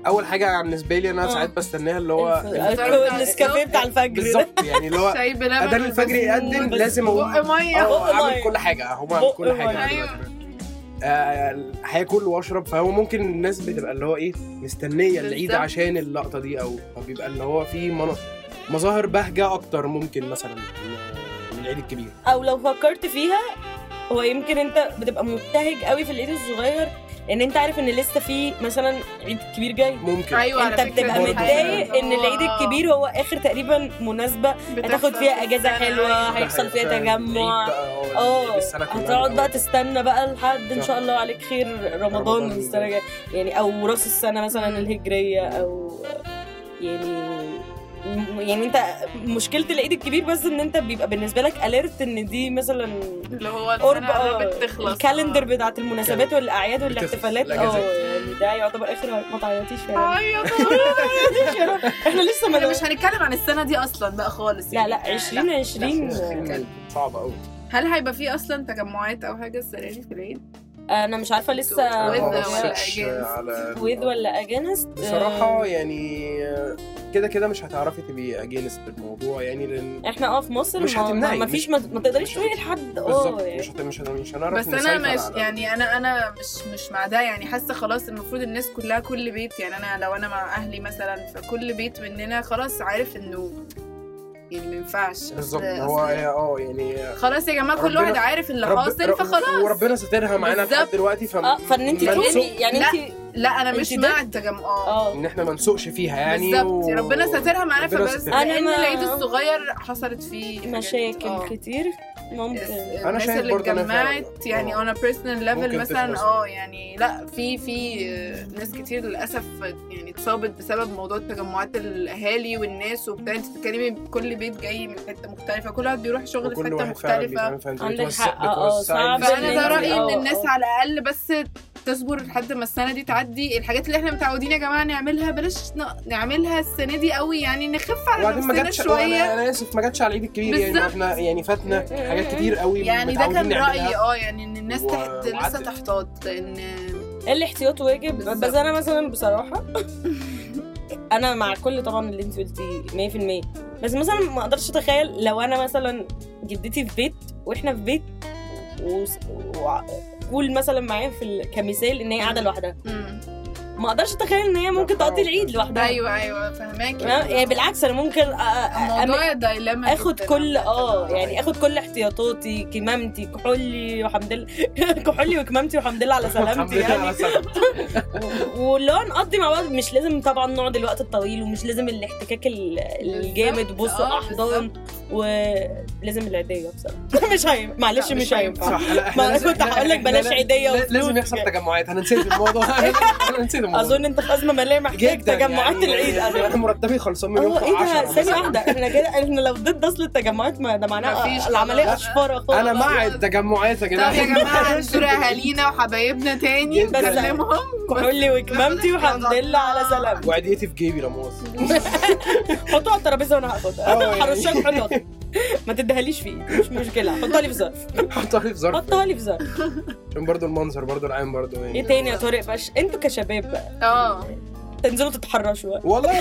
Speaker 3: اول حاجه بالنسبه لي انا
Speaker 4: آه. إيه؟
Speaker 3: ساعات بستناها اللي هو
Speaker 4: الف-
Speaker 5: الفطار
Speaker 4: الكو-
Speaker 5: بتاع
Speaker 4: النسكافيه بتاع الفجر ده
Speaker 3: بالظبط يعني اللي
Speaker 5: أكتر.
Speaker 3: هو
Speaker 5: شاي بلبن
Speaker 3: اذان الفجر يقدم
Speaker 5: وبس-
Speaker 3: لازم أقوم.
Speaker 5: بق ميه
Speaker 3: اه
Speaker 4: مية.
Speaker 3: عامل كل حاجه هم عامل
Speaker 4: بق
Speaker 3: كل حاجه
Speaker 4: مية.
Speaker 5: أيوة.
Speaker 3: آه، هاكل واشرب فهو ممكن الناس بتبقى اللي هو ايه مستنيه العيد
Speaker 5: بالظبط.
Speaker 3: عشان اللقطه دي او فبيبقى اللي هو في مناطق مظاهر بهجه اكتر ممكن مثلا من- من العيد الكبير
Speaker 4: او لو فكرت فيها هو يمكن انت بتبقى مبتهج قوي في العيد الصغير ان انت عارف ان لسه في مثلا عيد كبير جاي
Speaker 3: ممكن
Speaker 5: ايوه على
Speaker 4: انت
Speaker 5: فكرة أيوة.
Speaker 4: بتبقى
Speaker 5: دي حاجة
Speaker 4: متضايق ان العيد
Speaker 5: هو-
Speaker 4: الكبير هو اخر تقريبا مناسبه هتاخد
Speaker 5: بتحصل
Speaker 4: فيها
Speaker 5: في
Speaker 4: اجازه
Speaker 5: السنة.
Speaker 4: حلوه
Speaker 3: ده
Speaker 4: هيحصل فيها
Speaker 3: حقيقة فعلا. العيد
Speaker 4: تجمع
Speaker 3: بقى هو يعني اللي
Speaker 4: اه
Speaker 3: السنة كلها
Speaker 4: هتقعد بقى
Speaker 3: الأول.
Speaker 4: تستنى بقى لحد ان
Speaker 3: صح.
Speaker 4: شاء الله عليك خير رمضان
Speaker 3: رمضان.
Speaker 4: السنه الجايه يعني او راس السنه مثلا الهجريه او يعني يعني انت مشكله العيد الكبير بس ان انت بيبقى بالنسبه لك اليرت ان دي مثلا
Speaker 5: اللي هو
Speaker 4: قرب
Speaker 5: السنه
Speaker 4: آه،
Speaker 5: قربت تخلص آه.
Speaker 4: الكالندر بتاعت المناسبات والاعياد والاحتفالات
Speaker 3: بتخلص.
Speaker 4: اه
Speaker 3: الأجازات.
Speaker 4: يعني ده يعتبر اخر ما تعيطيش يعني
Speaker 5: ايوه
Speaker 4: احنا لسه
Speaker 5: احنا
Speaker 4: ما
Speaker 5: مش هنتكلم عن السنه دي اصلا بقى خالص
Speaker 4: لا
Speaker 5: يعني.
Speaker 4: لا 2020
Speaker 3: صعب قوي
Speaker 5: هل هيبقى في اصلا تجمعات او حاجه السنه دي في العيد؟
Speaker 4: انا مش عارفه لسه
Speaker 5: آه،
Speaker 3: أنا ما
Speaker 5: ولا
Speaker 3: بصيتش
Speaker 5: against.
Speaker 3: على-
Speaker 4: ويذ ولا اجينست
Speaker 3: بصراحة يعني كده كده مش هتعرفي تبقي اجينست بالموضوع يعني لان
Speaker 4: احنا اه في مصر
Speaker 3: مش
Speaker 4: ما- ما
Speaker 3: هتمنعي،
Speaker 4: ما
Speaker 3: مش-
Speaker 4: فيش ما ما تقدريش
Speaker 3: مش
Speaker 4: تقولي لحد اه
Speaker 3: بالظبط
Speaker 4: يعني
Speaker 3: مش هت... مش هت... مش هنعرف
Speaker 5: بس انا
Speaker 3: نسيطر
Speaker 5: مش
Speaker 3: على-
Speaker 5: يعني انا انا مش مش مع ده يعني حاسه خلاص المفروض الناس كلها كل بيت يعني انا لو انا مع اهلي مثلا فكل بيت مننا خلاص عارف انه يعني ما ينفعش
Speaker 3: بالظبط
Speaker 5: أصل-
Speaker 3: هو
Speaker 5: آه، أصل-
Speaker 3: اه يعني
Speaker 5: خلاص يا جماعه كل
Speaker 3: ربنا-
Speaker 5: واحد عارف اللي حاصل
Speaker 3: رب-
Speaker 5: فخلاص
Speaker 3: وربنا ساترها معانا لحد
Speaker 5: بالظبط.
Speaker 3: دلوقتي فم...
Speaker 4: اه فان انت
Speaker 3: ما
Speaker 4: تقولي
Speaker 3: نسوق-
Speaker 4: يعني
Speaker 5: لا.
Speaker 4: انت
Speaker 5: لا انا مش
Speaker 4: انت ضد؟
Speaker 5: مع التجمع اه
Speaker 4: اه
Speaker 3: ان احنا ما نسوقش فيها يعني
Speaker 5: بالظبط ربنا ساترها معانا
Speaker 3: ربنا
Speaker 5: فبس
Speaker 3: ساترها.
Speaker 4: أنا
Speaker 5: لان
Speaker 4: ما-
Speaker 5: العيد الصغير حصلت فيه حاجات. آه.
Speaker 4: مشاكل كتير ممكن
Speaker 5: إيه، الناس
Speaker 3: إيه، أنا شايف
Speaker 5: اللي
Speaker 3: برضه أنا فعلاً.
Speaker 5: اتجمعت يعني
Speaker 3: آه.
Speaker 5: اون بيرسونال ليفل
Speaker 3: ممكن
Speaker 5: مثلا
Speaker 3: تتبسط.
Speaker 5: آه، اه يعني لا في في آه، ناس كتير للاسف يعني اتصابت بسبب موضوع تجمعات الاهالي والناس وبتاع انت بتتكلمي كل بيت جاي من حته مختلفه كل واحد بيروح شغل في
Speaker 3: وكل
Speaker 5: حته
Speaker 3: واحد فعلا
Speaker 5: مختلفه
Speaker 3: بيتعامل فانت
Speaker 4: عندك
Speaker 3: بتوسع-
Speaker 4: حق، آه، آه،
Speaker 3: بتوسعي
Speaker 4: صعب
Speaker 3: الفكرة.
Speaker 5: فانا ده
Speaker 4: بالنسبة لي،
Speaker 5: رايي
Speaker 4: اه،
Speaker 5: ان الناس
Speaker 4: اه.
Speaker 5: على الاقل بس تصبر لحد ما السنه دي تعدي الحاجات اللي احنا متعودين يا جماعه نعملها بلاش ن- نعملها السنه دي قوي يعني نخف على
Speaker 3: وبعدين ما
Speaker 5: نفسنا
Speaker 3: جاتش انا
Speaker 5: شويه
Speaker 3: انا اسف ما جاتش على العيد الكبير يعني
Speaker 5: بالظبط.
Speaker 3: احنا يعني فاتنا حاجات كتير قوي
Speaker 5: يعني ده
Speaker 3: متعودين
Speaker 5: كان
Speaker 3: نعملها.
Speaker 5: رايي اه يعني ان الناس
Speaker 3: و-
Speaker 5: تحت لسه
Speaker 3: وعدت.
Speaker 5: تحتاط لان
Speaker 4: الاحتياط واجب
Speaker 5: بالظبط.
Speaker 4: بس انا مثلا بصراحه انا مع كل طبعا اللي انت قلتيه 100% بس مثلا ما اقدرش اتخيل لو انا مثلا جدتي في بيت واحنا في بيت و... و... قول مثلا معايا في ال... كمثال ان هي قاعده لوحدها
Speaker 5: مم.
Speaker 4: ما اقدرش اتخيل ان هي ممكن تقضي العيد لوحدها
Speaker 5: ايوه ايوه فهماكي
Speaker 4: تمام؟ يعني بالعكس انا ممكن أ... أ... أ...
Speaker 5: الموضوع دايلما
Speaker 4: اخد
Speaker 5: جداً.
Speaker 4: كل اه يعني اخد كل احتياطاتي كمامتي كحولي وحمد لله كحولي وكمامتي وحمد لله على
Speaker 3: الحمد
Speaker 4: سلامتي
Speaker 3: لله
Speaker 4: يعني
Speaker 3: على السلامة.
Speaker 4: واللي هو نقضي مع بعض مش لازم طبعا نقعد الوقت الطويل ومش لازم الاحتكاك ال- الجامد
Speaker 5: بالظبط،
Speaker 4: بص
Speaker 5: آه،
Speaker 4: احضان ولازم العيديه بصراحه مش هينفع معلش
Speaker 5: لا، مش
Speaker 4: مش هينفع
Speaker 3: صح لا
Speaker 4: ما أنا
Speaker 3: لازم-
Speaker 4: كنت
Speaker 3: لا،
Speaker 4: هقول لك
Speaker 3: إحنا
Speaker 4: بلاش
Speaker 3: لا-
Speaker 4: عيدية
Speaker 3: لا-
Speaker 4: وفلوس
Speaker 3: لازم يحصل
Speaker 4: يعني.
Speaker 3: تجمعات انا نسيت الموضوع انا نسيت الموضوع
Speaker 4: اظن انت في ازمه ماليه محتاج
Speaker 3: جدا
Speaker 4: تجمعات
Speaker 3: يعني.
Speaker 4: العيد
Speaker 3: يعني
Speaker 4: أصلاً.
Speaker 3: انا مرتبي خلصان من يوم
Speaker 4: اه ايه ده
Speaker 3: 10
Speaker 4: ثانيه
Speaker 3: مثلاً.
Speaker 4: واحده احنا كده احنا لو ضد اصل التجمعات ما ده
Speaker 5: مفيش
Speaker 4: معناها العمليه
Speaker 5: خلاص.
Speaker 4: اشفاره خالص
Speaker 3: انا مع التجمعات يا
Speaker 5: طب
Speaker 3: جماعه
Speaker 5: يا جماعه نزور اهالينا وحبايبنا تاني
Speaker 3: جداً.
Speaker 5: نكلمهم آه.
Speaker 4: كحولي وكمامتي وحمد لله على سلام
Speaker 3: وعديتي في جيبي لا مؤاخذة.
Speaker 4: حطوها على الترابيزه وانا هاخدها
Speaker 3: اه
Speaker 5: آه،
Speaker 3: يعني.
Speaker 4: حرشها حطوها ما تديهاليش في ايدي مش مشكله حطها لي في ظرف
Speaker 3: حطها لي في ظرف
Speaker 4: حطها لي في ظرف
Speaker 3: عشان برضه المنظر برضه العام برضه يعني
Speaker 4: ايه تاني يا طارق باش انتوا كشباب بقى
Speaker 5: اه
Speaker 4: تنزلوا تتحرشوا
Speaker 3: والله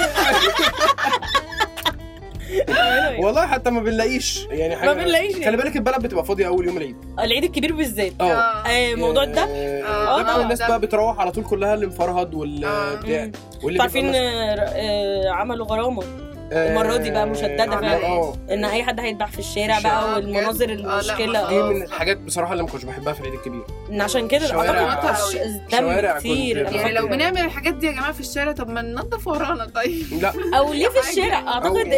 Speaker 5: آه.
Speaker 4: بقى.
Speaker 3: والله حتى ما بنلاقيش يعني حاجه
Speaker 4: ما بنلاقيش يعني.
Speaker 3: خلي بالك البلد بتبقى فاضيه اول يوم العيد
Speaker 4: العيد الكبير بالذات
Speaker 3: اه
Speaker 5: يعني
Speaker 4: آه، موضوع الدم
Speaker 5: آه،
Speaker 3: اه
Speaker 4: طبعاً.
Speaker 3: طبعا الناس بقى بتروح على طول كلها اللي مفرهد
Speaker 5: آه.
Speaker 3: وال بتاع
Speaker 4: مم.
Speaker 3: واللي
Speaker 4: انتوا عارفين
Speaker 3: بيبقى
Speaker 4: آه، آه، عملوا غرامه
Speaker 3: آه،
Speaker 4: المرة دي بقى مشددة
Speaker 3: آه،
Speaker 5: فعلاً.
Speaker 3: اه
Speaker 4: ان اي حد هيتباع في الشارع
Speaker 5: الشارع
Speaker 4: بقى
Speaker 5: بجد.
Speaker 4: والمناظر
Speaker 5: لا،
Speaker 4: المشكله
Speaker 5: ما-
Speaker 3: دي
Speaker 5: آه.
Speaker 4: اه
Speaker 3: من الحاجات بصراحه اللي ما كنتش بحبها في العيد الكبير
Speaker 4: ان عشان كده
Speaker 3: شوارع-
Speaker 4: اعتقد مش- الدم
Speaker 3: شوارع
Speaker 4: كتير
Speaker 3: كنت-
Speaker 4: أنا
Speaker 5: يعني لو
Speaker 4: أيوة، فاكرة.
Speaker 5: بنعمل الحاجات دي يا جماعه في الشارع طب ما ننضف ورانا طيب
Speaker 3: لا
Speaker 4: او ليه في
Speaker 5: حاجة. يعني.
Speaker 4: الشارع اعتقد
Speaker 3: أو-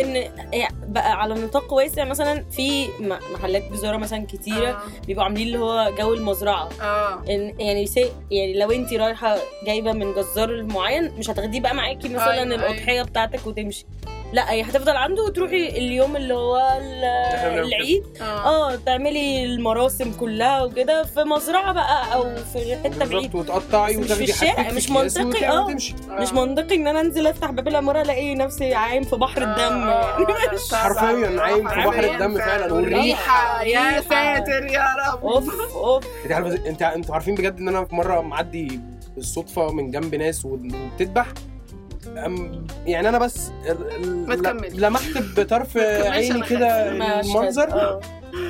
Speaker 4: ان بقى على نطاق واسع مثلا في م- محلات جزاره مثلا كتيره بيبقوا عاملين اللي هو جو المزرعه
Speaker 5: اه
Speaker 4: إن- يعني سي يعني لو انت رايحه جايبه من جزار معين مش هتاخديه بقى معاكي مثلا
Speaker 5: أيوة،
Speaker 4: الاضحيه بتاعتك وتمشي لا هي هتفضل عنده وتروحي اليوم اللي هو ال-
Speaker 3: إحنا بنعمل
Speaker 4: آه، العيد
Speaker 5: اه
Speaker 4: اه تعملي المراسم كلها وكده في مزرعه بقى او في حته
Speaker 3: بالظبط
Speaker 4: بعيد
Speaker 3: وتقطعي
Speaker 4: بس مش
Speaker 3: وتاخدي
Speaker 4: الشارع،
Speaker 3: حاجتك في
Speaker 4: مش
Speaker 3: أكياس
Speaker 4: منطقي،
Speaker 3: وتعملي
Speaker 4: اه.
Speaker 3: تمشي
Speaker 4: مش منطقي ان انا انزل افتح باب العماره الاقي نفسي عايم في
Speaker 5: آه،
Speaker 3: آه،
Speaker 4: بحر الدم يعني مش-
Speaker 3: حرفياً عايم في بحر الدم فعلاً،
Speaker 5: والريحه
Speaker 4: والريحة.
Speaker 5: يا ساتر يا رب
Speaker 4: اوف اوف
Speaker 3: انت عارف انت انتوا عارفين بجد ان انا في مره معدي بالصدفه من جنب ناس وبتذبح أم- يعني انا بس ال- ال-
Speaker 5: ما
Speaker 3: ل-
Speaker 5: تكملش.
Speaker 3: لمحت بطرف
Speaker 5: تكملش،
Speaker 3: عيني
Speaker 5: أنا
Speaker 3: كده
Speaker 4: مشهد.
Speaker 3: المنظر
Speaker 4: آه.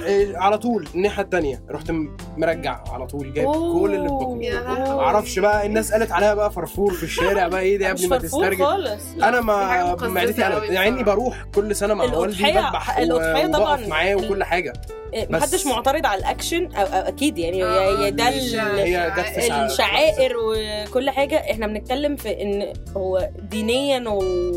Speaker 3: آه، على طول الناحيه التانيه رحت م- مرجع على طول جايب
Speaker 4: أوه.
Speaker 3: كل اللي في بطني
Speaker 5: يا لهوي.
Speaker 3: معرفش بقى الناس قالت عليها بقى فرفور في الشارع بقى ايه ده يا
Speaker 4: مش
Speaker 3: ابني ما
Speaker 4: فرفور
Speaker 3: تسترجل
Speaker 4: خالص لا.
Speaker 3: انا
Speaker 5: دي حاجة
Speaker 3: ما
Speaker 5: مقززة
Speaker 3: معدتي
Speaker 5: أوي
Speaker 3: قلبت يعني اني
Speaker 5: بصراحة.
Speaker 3: بروح كل سنه مع والدي
Speaker 4: الأضحية-
Speaker 3: بذبح
Speaker 4: الأضحية
Speaker 3: و-
Speaker 4: طبعاً.
Speaker 3: وبقف معاه وكل حاجه بس-
Speaker 4: إيه، محدش معترض على الاكشن أو, أو اكيد يعني
Speaker 5: آه،
Speaker 4: هي- هي ده ال-
Speaker 3: هي جت في شعر.
Speaker 4: الشعائر وكل حاجه احنا بنتكلم في ان هو دينيا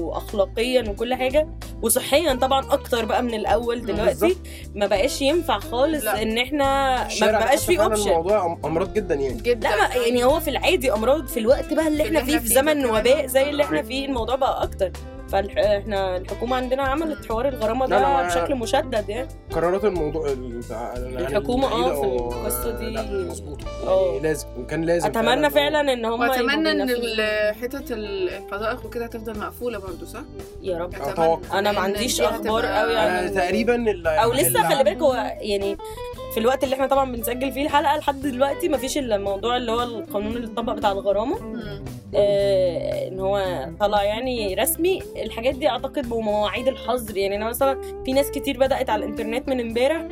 Speaker 4: واخلاقيا وكل حاجه وصحيا طبعا اكتر بقى من الاول دلوقتي
Speaker 3: بالظبط.
Speaker 4: ما بقاش ينفع خالص
Speaker 5: لا.
Speaker 4: ان احنا ما
Speaker 3: الشارع
Speaker 4: بقاش
Speaker 3: حتى
Speaker 4: فيه
Speaker 3: فعلاً
Speaker 4: اوبشن
Speaker 3: الموضوع أم- امراض جدا يعني
Speaker 5: جدا
Speaker 4: لا ما يعني هو في العادي امراض في الوقت بقى اللي
Speaker 5: اللي
Speaker 4: احنا فيه
Speaker 5: إحنا
Speaker 4: في
Speaker 5: فيه
Speaker 4: زمن
Speaker 5: ده
Speaker 4: وباء
Speaker 5: كمان.
Speaker 4: زي اللي احنا فيه الموضوع بقى اكتر فاحنا الحكومه عندنا عملت حوار الغرامه
Speaker 3: لا، لا،
Speaker 4: ده
Speaker 3: ما-
Speaker 4: بشكل مشدد يعني
Speaker 3: قرارات الموضوع ال- بتاع- يعني
Speaker 4: الحكومة، آه،
Speaker 3: العيد أو-
Speaker 4: في القصة دي.
Speaker 3: لا، مظبوط
Speaker 4: آه.
Speaker 3: يعني لازم وكان لازم
Speaker 4: اتمنى فعلا ان هم
Speaker 5: واتمنى ان ال- حتت الحدائق وكده هتفضل مقفوله برضو صح؟
Speaker 4: يا رب
Speaker 5: أتمنى.
Speaker 3: أتوقع.
Speaker 4: أنا ما
Speaker 5: لأن
Speaker 4: عنديش
Speaker 5: دي
Speaker 4: أخبار
Speaker 5: هتبقى-
Speaker 4: أوي عن-
Speaker 3: آه، تقريبا اللي
Speaker 4: او لسه خلي بالك هو يعني في الوقت اللي احنا طبعا بنسجل فيه الحلقه لحد دلوقتي مفيش الا الموضوع اللي هو القانون اللي اتطبق بتاع الغرامه
Speaker 5: مم.
Speaker 4: آه ان هو طلع يعني رسمي الحاجات دي اعتقد بمواعيد الحظر يعني انا مثلا في ناس كتير بدات على الانترنت من امبارح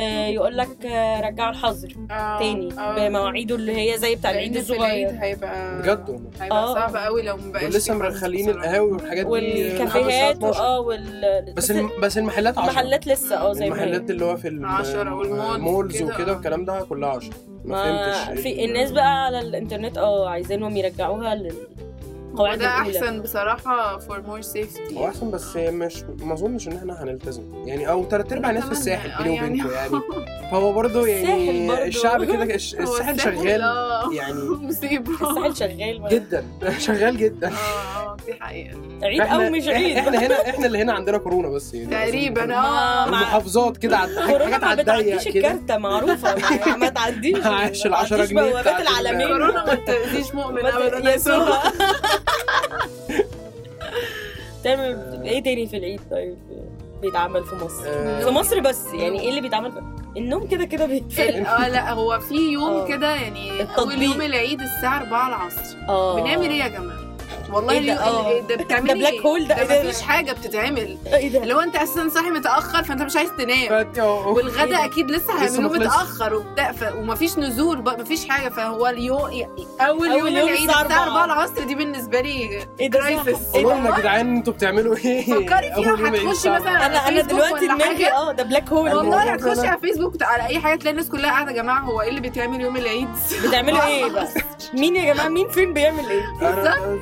Speaker 4: آه يقول لك آه رجعوا الحظر
Speaker 5: آه،
Speaker 4: تاني
Speaker 5: آه.
Speaker 4: بمواعيده اللي هي زي بتاع
Speaker 5: لأن
Speaker 4: العيد
Speaker 5: في
Speaker 4: الصغير
Speaker 5: العيد هيبقى
Speaker 3: بجد والله.
Speaker 5: هيبقى
Speaker 4: آه.
Speaker 5: صعب قوي لو مبقاش
Speaker 3: دول
Speaker 5: في
Speaker 3: لسه
Speaker 5: فرص
Speaker 3: مخلين
Speaker 5: بصراحة.
Speaker 3: القهاوي والحاجات دي
Speaker 4: والكافيهات
Speaker 3: لحد الساعة 12.
Speaker 4: واه وال
Speaker 3: بس الم- بس المحلات 10
Speaker 4: المحلات لسه اه زي ما هي.
Speaker 3: المحلات اللي هو في الم-
Speaker 5: عشرة والمولز
Speaker 3: المولز
Speaker 5: كده.
Speaker 3: وكده والكلام ده كلها 10 ما
Speaker 4: ما
Speaker 3: فهمتش
Speaker 4: في الناس بقى على الانترنت اه عايزينهم يرجعوها للقواعد
Speaker 5: وده
Speaker 4: الأولى.
Speaker 5: احسن بصراحه for more
Speaker 3: هو
Speaker 5: safety
Speaker 3: احسن بس مش ما اظنش ان احنا هنلتزم يعني او تلات ارباع الناس في
Speaker 5: أتمنى.
Speaker 3: الساحل
Speaker 5: آه،
Speaker 3: بيني
Speaker 5: يعني.
Speaker 3: وبينكم يعني فهو برضه
Speaker 4: الساحل برضه.
Speaker 3: يعني الشعب كده الش-
Speaker 5: هو
Speaker 3: الساحل شغال
Speaker 5: آه،
Speaker 3: يعني
Speaker 5: مصيبه
Speaker 4: الساحل شغال بقى.
Speaker 3: جدا شغال جدا
Speaker 5: آه، آه. دي حقيقه
Speaker 4: عيد او مش عيد
Speaker 3: احنا هنا احنا اللي هنا عندنا كورونا بس يعني
Speaker 5: تقريبا
Speaker 4: ما-
Speaker 5: اه
Speaker 4: مع-
Speaker 3: المحافظات كده عد-
Speaker 4: كورونا
Speaker 3: حاجات
Speaker 4: ما
Speaker 3: على
Speaker 4: بتعديش
Speaker 3: الضيق كده
Speaker 4: الكارتة معروفة ما- ما تعديش
Speaker 3: معاش
Speaker 4: ما
Speaker 3: العشرة
Speaker 4: تعديش
Speaker 3: جنيه
Speaker 4: بوابات
Speaker 3: بتاعت
Speaker 4: العالمين
Speaker 5: كورونا ما تاذيش مؤمن
Speaker 4: ما ت-
Speaker 5: ابدا
Speaker 4: يسوع. تعمل ايه تاني في العيد طيب بيتعمل في مصر
Speaker 3: آه.
Speaker 4: في مصر بس يعني ايه اللي بيتعمل في النوم كده كده بيتفعل
Speaker 5: ال- اه لا هو في يوم
Speaker 4: آه.
Speaker 5: كده يعني
Speaker 4: التطبيق.
Speaker 5: اول يوم العيد الساعه 4 العصر
Speaker 4: اه
Speaker 5: بنعمل ايه يا جماعه والله
Speaker 4: إيه ده؟
Speaker 5: اليوم-
Speaker 4: آه.
Speaker 5: إيه ده بتعملي
Speaker 4: ده بلاك
Speaker 5: إيه؟
Speaker 4: هول ده، إيه
Speaker 5: ده
Speaker 4: ده؟
Speaker 5: مفيش حاجه بتتعمل
Speaker 4: ايه ده
Speaker 5: لو انت اساسا صاحي متاخر فانت مش عايز تنام
Speaker 3: فت- أو- أو-
Speaker 5: والغدا اكيد لسه
Speaker 3: لسه
Speaker 5: هيعملوه
Speaker 3: ما خلصش.
Speaker 5: متاخر وبتاع ف... ومفيش نزول بقى مفيش حاجه فهو اليوم يعني
Speaker 4: أول
Speaker 5: اول, يوم
Speaker 4: يوم
Speaker 5: العيد
Speaker 4: الساعة
Speaker 5: الساعه 4
Speaker 4: 4
Speaker 5: العصر دي بالنسبه لي
Speaker 4: ايه ده
Speaker 5: كرايسس
Speaker 4: إيه ده؟
Speaker 3: قولوا لنا يا جدعان انتوا بتعملوا ايه
Speaker 5: فكري فيها
Speaker 3: أول يوم العيد
Speaker 5: هتخشي
Speaker 3: صعب.
Speaker 5: مثلا
Speaker 4: انا انا
Speaker 5: فيسبوك
Speaker 4: دماغي
Speaker 5: ولا
Speaker 4: دماغي
Speaker 5: حاجة؟
Speaker 4: اه ده بلاك هول
Speaker 5: والله
Speaker 3: الموضوع
Speaker 5: هتخشي
Speaker 3: ده-
Speaker 5: على فيسبوك على اي حاجه تلاقي الناس كلها قاعده يا جماعه هو ايه اللي بيتعمل يوم العيد؟
Speaker 4: بتعملوا ايه بقى مين يا جماعه مين فين بيعمل ايه
Speaker 3: أنا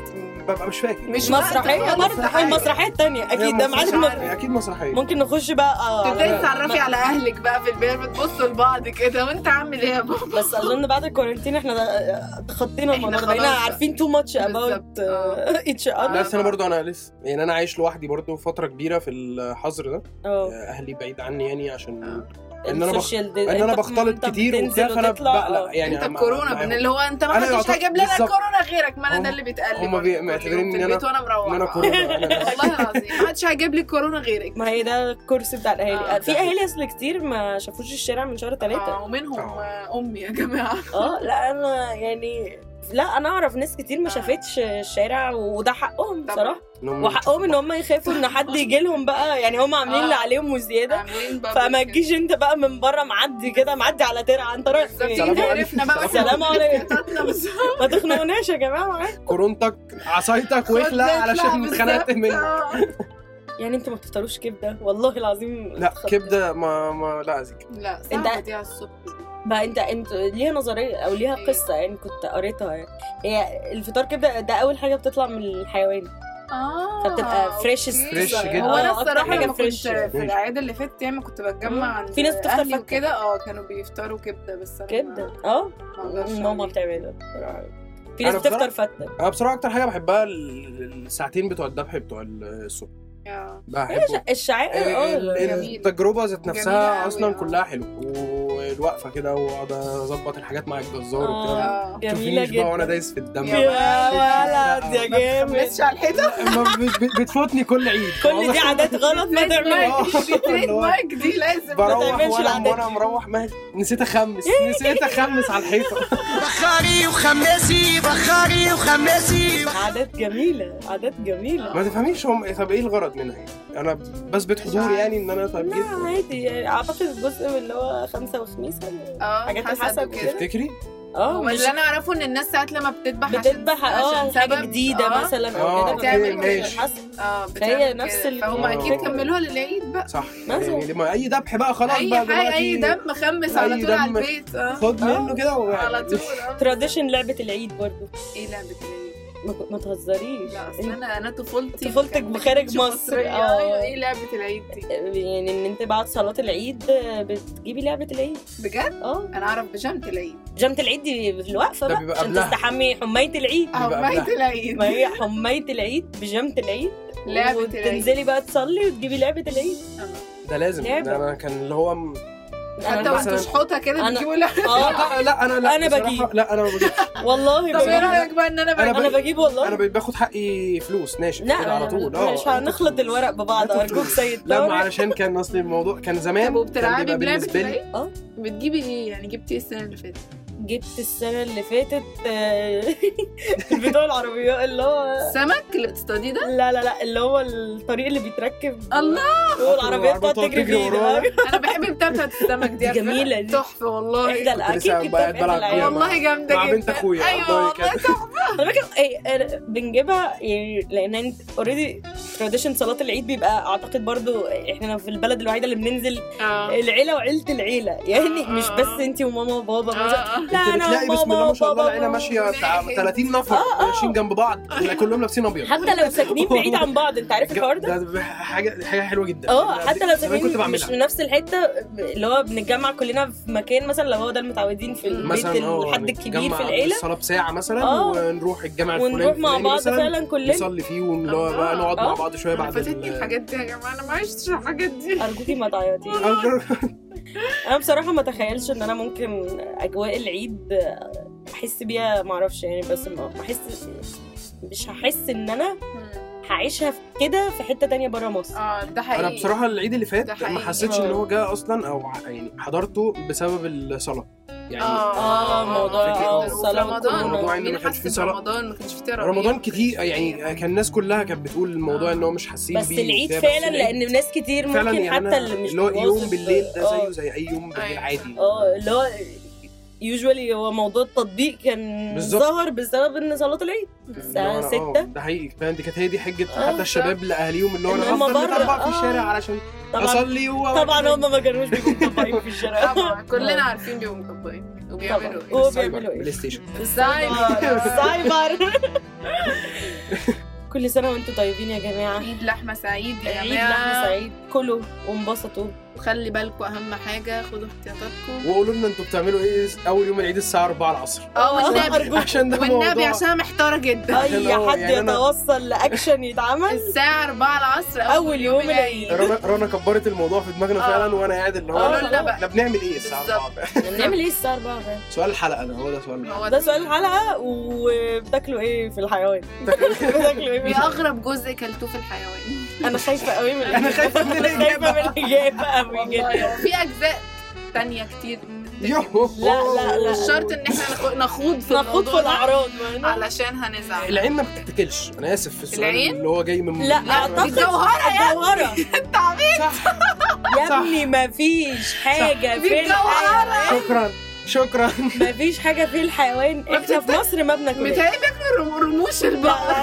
Speaker 3: ببقى مش فاكر
Speaker 5: مش
Speaker 4: مسرحيه برضه
Speaker 5: مسرحيه
Speaker 4: المسرحيه التانية اكيد ده
Speaker 3: مش
Speaker 4: معلم
Speaker 3: عارف، اكيد مسرحيه
Speaker 4: ممكن نخش بقى آه، على-
Speaker 5: تبداي تتعرفي على اهلك بقى في البيت بتبصوا لبعض كده وانت عامل ايه يا بابا؟
Speaker 4: بس اظن بعد الكورنتين احنا آه، خطينا
Speaker 5: إحنا
Speaker 4: الموضوع ده بقينا
Speaker 5: خلاص.
Speaker 4: عارفين تو ماتش
Speaker 5: بالظبط،
Speaker 4: اباوت
Speaker 5: آه.
Speaker 4: اتش اذر
Speaker 3: نفس انا برضو انا لسه يعني انا عايش لوحدي برضو فتره كبيره في الحظر ده
Speaker 4: اه
Speaker 3: اهلي بعيد عني يعني عشان
Speaker 5: آه.
Speaker 3: ان انا بخ...
Speaker 4: السوشيال دي-
Speaker 3: ان انا
Speaker 4: أنت-
Speaker 3: بختلط
Speaker 4: أنت
Speaker 3: كتير
Speaker 4: بتنزل
Speaker 3: وبتاع فانا
Speaker 4: وتطلع،
Speaker 3: بقلق
Speaker 4: آه.
Speaker 3: يعني
Speaker 5: انت
Speaker 3: مع-
Speaker 5: الكورونا
Speaker 3: معاهم.
Speaker 5: من اللي هو انت ما
Speaker 3: أنا
Speaker 5: حدش
Speaker 3: يعتبر-
Speaker 5: هيجيب لنا
Speaker 3: بالظبط.
Speaker 5: الكورونا غيرك ما انا ده
Speaker 3: هم-
Speaker 5: اللي بيتقال لي
Speaker 3: هم
Speaker 5: برضه
Speaker 3: بي-
Speaker 5: كل يوم
Speaker 3: معتبرين
Speaker 5: في
Speaker 3: إن أنا-
Speaker 5: البيت وانا مروحه
Speaker 3: ان انا كورونا أنا-
Speaker 5: والله العظيم ما حدش هيجيب لي الكورونا غيرك
Speaker 4: ما هي ده الكورس بتاع الاهالي
Speaker 5: آه.
Speaker 4: آه. في اهالي اصل كتير ما شافوش الشارع من شهر ثلاثة
Speaker 5: آه، ومنهم
Speaker 3: آه.
Speaker 5: آه، امي يا جماعه
Speaker 4: اه لا انا يعني لا انا اعرف ناس كتير ما
Speaker 5: آه.
Speaker 4: شافتش الشارع وده حقهم
Speaker 5: طبعاً.
Speaker 4: بصراحه
Speaker 3: إن هم-
Speaker 4: وحقهم ان هم يخافوا ان حد يجي لهم بقى يعني هم عاملين
Speaker 5: آه.
Speaker 4: اللي عليهم وزياده
Speaker 5: عاملين بابل
Speaker 4: فما
Speaker 5: كده.
Speaker 4: تجيش انت بقى من بره معدي كده معدي على ترعه انت رايح
Speaker 5: بالظبط
Speaker 4: فين
Speaker 3: سلام عليكم.
Speaker 5: عرفنا بقى
Speaker 4: سلام عليكم.
Speaker 5: بتاعتنا بالظبط.
Speaker 4: ما تخنقوناش يا جماعه معاك
Speaker 3: كورونتك عصايتك واخلع
Speaker 5: خدنا
Speaker 3: علشان
Speaker 5: بالظبط.
Speaker 3: اتخنقت منك
Speaker 5: آه.
Speaker 4: يعني انتوا ما بتفطروش كبده والله العظيم
Speaker 3: لا
Speaker 4: اتخضيت.
Speaker 3: كبده ما ما لا أزيك.
Speaker 5: لا
Speaker 4: انت-
Speaker 5: صعبه دي على الصبح
Speaker 4: بقى انت انت ليها نظريه او ليها
Speaker 5: ايه؟
Speaker 4: قصه يعني كنت قريتها يعني هي الفطار كده ده اول حاجه بتطلع من الحيوان
Speaker 5: اه
Speaker 4: فبتبقى فريش
Speaker 5: أوكي.
Speaker 3: فريش جدا.
Speaker 5: هو
Speaker 4: آه،
Speaker 5: انا
Speaker 4: أكتر
Speaker 5: الصراحه
Speaker 4: حاجة
Speaker 5: لما كنت
Speaker 4: فريش.
Speaker 5: في
Speaker 3: ماشي.
Speaker 5: الاعياد اللي فاتت يعني كنت بتجمع
Speaker 4: مم.
Speaker 5: عند
Speaker 4: في ناس بتفطر
Speaker 5: اهلي
Speaker 4: فكة.
Speaker 5: وكده اه كانوا بيفطروا كبده بس انا
Speaker 4: كبده اه
Speaker 5: ما- ما أقدرش
Speaker 4: ماما
Speaker 5: عليه.
Speaker 4: بتعمل ده بصراحة. في ناس
Speaker 3: أنا بصراحة-
Speaker 4: بتفطر فته
Speaker 3: انا بصراحه اكتر حاجه بحبها ال- الساعتين بتوع الذبح بتوع الصبح
Speaker 5: آه.
Speaker 3: بحبهم إيه،
Speaker 4: الشعائر اه
Speaker 3: ال-
Speaker 5: جميل.
Speaker 3: التجربه ذات
Speaker 5: جميلة
Speaker 3: نفسها
Speaker 5: أوي،
Speaker 3: اصلا
Speaker 5: آه.
Speaker 3: كلها حلوه والوقفه كده واقعد اظبط الحاجات مع الجزار
Speaker 4: آه.
Speaker 3: وبتاع
Speaker 5: آه.
Speaker 4: جميله
Speaker 3: تشوفينيش بقى وانا
Speaker 4: جدا
Speaker 3: دايس في الدم
Speaker 5: يا
Speaker 4: يا ولد يا جامد
Speaker 5: مش على الحيطه
Speaker 3: ما بت- بت- بتفوتني كل عيد
Speaker 4: كل دي عادات غلط ما تعملهاش
Speaker 3: آه.
Speaker 5: دي تريد مارك دي لازم
Speaker 3: بروح
Speaker 4: تعملش
Speaker 3: وانا
Speaker 4: العادات
Speaker 3: وانا
Speaker 4: دي.
Speaker 3: مروح ما نسيت اخمس نسيت اخمس على الحيطه
Speaker 8: بخاري وخماسي بخاري وخماسي
Speaker 4: عادات جميله عادات جميله
Speaker 5: اه.
Speaker 3: ما تفهميش هم طب ايه الغرض منها يعني انا بثبت حضوري يعني ان انا طب
Speaker 4: لا
Speaker 3: جيت
Speaker 4: عادي يعني اعتقد جزء من اللي هو خمسه وخميس ولا-
Speaker 5: اه
Speaker 4: حاجات
Speaker 5: حسب
Speaker 4: الحسب
Speaker 5: كده
Speaker 4: كده.
Speaker 3: تفتكري آه،
Speaker 4: اه
Speaker 5: هو
Speaker 4: مش
Speaker 5: اللي انا اعرفه ان الناس ساعات لما بتذبح عشان-
Speaker 4: بتذبح اه
Speaker 5: عشان
Speaker 4: حاجه
Speaker 5: سبب،
Speaker 4: جديده
Speaker 5: آه.
Speaker 4: مثلا
Speaker 3: آه،
Speaker 4: او
Speaker 3: أوكي،
Speaker 4: كده فبتعمل
Speaker 3: ماشي.
Speaker 4: الحسب.
Speaker 5: اه بتعمل
Speaker 4: فهي
Speaker 5: كده.
Speaker 4: نفس ال-
Speaker 5: فهم اكيد
Speaker 3: الفكرة.
Speaker 5: كملوها للعيد بقى
Speaker 3: صح
Speaker 4: مثلا.
Speaker 3: يعني لما اي ذبح بقى خلاص
Speaker 5: اي
Speaker 3: بقى
Speaker 5: حاجه
Speaker 3: دلوقتي
Speaker 5: اي دم خمس
Speaker 3: أي
Speaker 5: على طول على
Speaker 3: دم.
Speaker 5: البيت اه
Speaker 3: خد
Speaker 4: آه.
Speaker 3: منه كده و-
Speaker 5: على طول اه
Speaker 4: تراديشن لعبه العيد برضو
Speaker 5: ايه لعبه العيد؟
Speaker 4: ما- ما تهزريش
Speaker 5: لا اصل انا انا طفولتي
Speaker 4: طفولتك
Speaker 5: كانت
Speaker 4: بخارج
Speaker 5: مش
Speaker 4: مصر،
Speaker 5: مصرية.
Speaker 4: آه.
Speaker 5: ايوه ايه لعبه العيد دي؟
Speaker 4: يعني ان انت بعد صلاه العيد بتجيبي لعبه العيد
Speaker 5: بجد
Speaker 4: اه
Speaker 5: انا اعرف بجامه العيد
Speaker 4: جامه العيد دي في الوقفه
Speaker 3: ده
Speaker 4: بقى
Speaker 3: بيبقى
Speaker 4: عشان
Speaker 3: قبلها.
Speaker 4: تستحمي حمايه العيد
Speaker 5: او
Speaker 3: بقى
Speaker 5: بيت
Speaker 3: بلح.
Speaker 5: العيد
Speaker 4: ما هي حمايه العيد بجامه العيد
Speaker 5: أيوة. لعبة العيد.
Speaker 4: وتنزلي بقى تصلي وتجيبي لعبه العيد
Speaker 3: ده لازم
Speaker 4: لعبة.
Speaker 3: ده انا كان اللي هو م-
Speaker 5: حتى
Speaker 4: أنا-
Speaker 5: وانتوا
Speaker 3: مثلاً-
Speaker 5: شحوطه كده
Speaker 4: أنا-
Speaker 5: بتجيبوا لعبه
Speaker 4: اه
Speaker 3: لا لا انا لا
Speaker 4: أنا
Speaker 3: بصراحة
Speaker 4: بجيب.
Speaker 3: لا انا ما بجيب
Speaker 4: والله
Speaker 5: طب ايه
Speaker 4: بجيب.
Speaker 5: رايك بقى ان انا بقى
Speaker 4: انا
Speaker 3: بجيب.
Speaker 4: بجيب والله
Speaker 3: انا باخد حقي فلوس ناشف
Speaker 4: لا
Speaker 3: كده على طول
Speaker 4: اه مش هنخلط الورق ببعض
Speaker 3: هاتوا
Speaker 4: ارجوك
Speaker 3: فلوس.
Speaker 4: سيد
Speaker 3: لا
Speaker 4: طارق.
Speaker 3: ما علشان كان اصل الموضوع كان زمان
Speaker 5: طب وبتلعبي
Speaker 3: كان بيبقى
Speaker 5: بلعبة
Speaker 3: بالنسبه لي
Speaker 5: العيد؟
Speaker 4: آه.
Speaker 5: بتجيبي ايه؟ يعني جبتي ايه السنة اللي فاتت؟
Speaker 4: جبت السنه اللي فاتت آه، بتوع العربيات اللي هو
Speaker 5: السمك اللي بتصطاديه ده؟
Speaker 4: لا لا لا اللي هو الطريق اللي بيتركب
Speaker 5: الله
Speaker 4: والعربيات بتقعد
Speaker 3: والعربيات
Speaker 4: تجري فيه
Speaker 3: وراه.
Speaker 4: ده.
Speaker 5: انا بحب بتاعة السمك دي
Speaker 4: دي
Speaker 5: على فكرة.
Speaker 4: جميلة دي. إيه
Speaker 5: تحفة والله
Speaker 4: احدى
Speaker 3: كنت
Speaker 4: الاكيد
Speaker 3: لسه
Speaker 4: جبت
Speaker 3: بقى
Speaker 4: احدى
Speaker 3: بلعب
Speaker 4: العيال.
Speaker 3: فيها
Speaker 5: والله جامدة
Speaker 3: مع
Speaker 5: جدا
Speaker 3: بنت أخويا،
Speaker 4: أيوة
Speaker 5: ايوه
Speaker 3: والله
Speaker 5: والله
Speaker 3: كانت-
Speaker 5: تحفة
Speaker 4: على فكره إيه، أنا بنجيبها يعني لان اوريدي تراديشن صلاه العيد بيبقى اعتقد برضو احنا في البلد الوحيده اللي بننزل
Speaker 5: آه.
Speaker 4: العيله وعيله العيله يعني
Speaker 5: آه،
Speaker 4: مش
Speaker 5: آه،
Speaker 4: بس
Speaker 5: آه.
Speaker 4: انت وماما وبابا
Speaker 5: آه، آه.
Speaker 4: لا
Speaker 3: انت
Speaker 4: انا
Speaker 3: بتلاقي
Speaker 4: وماما
Speaker 3: بسم الله ما شاء الله
Speaker 4: وبابا
Speaker 3: العيله ماشيه بتاع
Speaker 5: ماشي.
Speaker 3: 30 نفر
Speaker 4: آه،
Speaker 3: ماشيين جنب بعض كلهم لابسين ابيض
Speaker 4: حتى لو ساكنين بعيد عن بعض انت عارف الحوار ده؟
Speaker 3: ده حاجه حاجه حلوه جدا
Speaker 4: اه
Speaker 3: أنا
Speaker 4: حتى لو
Speaker 3: زمان كنت
Speaker 4: ساكنين مش
Speaker 3: بعملها
Speaker 4: في نفس الحته اللي هو بنتجمع كلنا في مكان مثلا لو هو ده المتعودين في البيت
Speaker 3: مثلا اه
Speaker 4: الحد
Speaker 3: نتجمع
Speaker 4: الكبير في
Speaker 3: قبل
Speaker 4: العيله
Speaker 3: الصلاه بساعه مثلا
Speaker 4: آه.
Speaker 3: نروح الجامع
Speaker 4: ونروح
Speaker 3: الفلاني الفلاني
Speaker 4: مع
Speaker 3: يعني
Speaker 4: بعض
Speaker 3: مثلاً
Speaker 4: فعلا كلنا
Speaker 3: نصلي فيه واللي هو بقى نقعد مع
Speaker 4: آه.
Speaker 3: بعض شويه
Speaker 5: انا
Speaker 3: بعد
Speaker 5: فاتتني
Speaker 3: ال-
Speaker 5: الحاجات دي يا جماعه انا ما عشتش الحاجات دي
Speaker 4: ارجوكي ما تعيطي انا بصراحه ما تخيلش ان انا ممكن اجواء العيد احس بيها ما اعرفش يعني بس ما ما احس مش هحس ان انا هعيشها في كده في حته تانية بره مصر
Speaker 5: اه ده حقيقي
Speaker 3: انا بصراحه العيد اللي
Speaker 5: ده
Speaker 3: فات
Speaker 5: حقيقي.
Speaker 3: ما حسيتش
Speaker 4: آه.
Speaker 3: ان هو جه اصلا او ع- يعني حضرته بسبب الصلاه يعني
Speaker 4: آه، موضوع-
Speaker 3: آه،
Speaker 4: الصلاة
Speaker 5: رمضان
Speaker 4: والكورونا.
Speaker 3: الموضوع إن
Speaker 5: مين
Speaker 3: ما كانش
Speaker 5: حس
Speaker 3: فيه صلاة.
Speaker 5: رمضان ما كانش فيه تراويح
Speaker 3: رمضان
Speaker 5: ما كانش
Speaker 3: كتير
Speaker 4: آه،
Speaker 5: فيه-
Speaker 3: يعني كان الناس كلها كانت بتقول الموضوع
Speaker 5: آه.
Speaker 3: ان هو مش حاسين
Speaker 4: بس
Speaker 3: بيه
Speaker 4: العيد
Speaker 3: وبتاع، بس
Speaker 4: فعلا
Speaker 3: العيد
Speaker 4: لان ناس كتير
Speaker 3: فعلا
Speaker 4: ممكن
Speaker 3: يعني
Speaker 4: حتى
Speaker 3: أنا
Speaker 4: اللي مش
Speaker 3: اللي هو يوم
Speaker 4: بيواظب-
Speaker 3: بالليل ده
Speaker 4: آه.
Speaker 3: زيه زي اي يوم بالليل
Speaker 5: أيوة.
Speaker 3: عادي
Speaker 4: اه اللي هو يوجوالي هو موضوع التطبيق كان
Speaker 3: بالظبط.
Speaker 4: ظهر بسبب ان صلاه العيد الساعه
Speaker 3: اللي هو أنا-
Speaker 4: 6
Speaker 3: آه، ده حقيقي فاهم دي كانت هي دي حجه
Speaker 4: آه،
Speaker 3: حتى الشباب لاهاليهم اللي هو
Speaker 4: إن
Speaker 3: انا
Speaker 4: هما
Speaker 3: هفضل
Speaker 4: بره،
Speaker 3: متربع
Speaker 4: آه.
Speaker 3: في الشارع علشان
Speaker 4: طبعا
Speaker 3: اصلي و
Speaker 4: طبعا هم ما كانوش بيبقوا مطبقين في الشارع
Speaker 5: طبعا كلنا عارفين بيبقوا مطبقين وبيعملوا
Speaker 4: طبعاً.
Speaker 5: ايه
Speaker 4: هو
Speaker 3: السايبر،
Speaker 4: بيعملوا إيه؟
Speaker 3: بلاي ستيشن
Speaker 4: السايبر السايبر كل سنه وانتم طيبين يا جماعه
Speaker 5: عيد لحمه سعيد يا
Speaker 4: عيد لحمه
Speaker 5: جماعه
Speaker 4: سعيد كلوا وانبسطوا
Speaker 5: وخلي بالكم اهم حاجه خدوا احتياطاتكم
Speaker 3: وقولوا لنا انتوا بتعملوا ايه اول يوم العيد الساعه 4 العصر
Speaker 4: آه،
Speaker 5: اه والنبي
Speaker 4: أرجوك.
Speaker 3: عشان ده
Speaker 5: والنبي
Speaker 3: موضوع.
Speaker 5: عشان محتاره جدا
Speaker 4: اي
Speaker 3: هو
Speaker 4: حد
Speaker 3: يعني أنا-
Speaker 4: يتوصل لاكشن يتعمل
Speaker 5: الساعه 4 العصر
Speaker 4: اول أيوة. يوم العيد
Speaker 3: رنا رنا كبرت الموضوع في دماغنا
Speaker 5: آه.
Speaker 3: فعلا وانا قاعد اللي هو
Speaker 5: آه،
Speaker 4: لا،
Speaker 5: بقى.
Speaker 3: احنا بنعمل ايه الساعه
Speaker 5: بالظبط.
Speaker 3: 4 بقى؟
Speaker 4: بنعمل ايه الساعه 4 بقى
Speaker 3: سؤال الحلقه ده هو ده سؤال الحلقة.
Speaker 5: هو
Speaker 4: ده سؤال الحلقه وبتاكلوا ايه في الحيوان بتاكلوا ايه في
Speaker 5: ايه
Speaker 4: الحيوان؟
Speaker 5: اغرب جزء كلتوه في الحيوان
Speaker 4: انا خايفه قوي من
Speaker 3: أنا خايفة من الإجابة.
Speaker 4: خايفه من الاجابه قوي جدا
Speaker 5: والله في اجزاء تانية كتير
Speaker 3: يوهو.
Speaker 4: لا، لا، لا.
Speaker 5: مش شرط ان احنا نخ- نخوض في
Speaker 4: نخوض في
Speaker 5: الموضوع ده
Speaker 4: الاعراض ما أنا-
Speaker 5: علشان هنزعل
Speaker 3: العين ما بتتاكلش انا اسف في السؤال
Speaker 5: العين؟
Speaker 3: اللي هو جاي من
Speaker 4: لا
Speaker 3: من-
Speaker 5: دي
Speaker 4: اعتقد
Speaker 5: الجوهرة يا
Speaker 4: الجوهره
Speaker 3: صح
Speaker 4: يا ابني مفيش حاجه
Speaker 5: دي
Speaker 4: في الحيوان
Speaker 5: الجوهرة
Speaker 3: شكرا شكرا
Speaker 4: مفيش حاجه في الحيوان احنا في
Speaker 5: بتت-
Speaker 4: مصر ما إيه؟ بناكلش
Speaker 5: متهيألي بياكلوا رموش البقر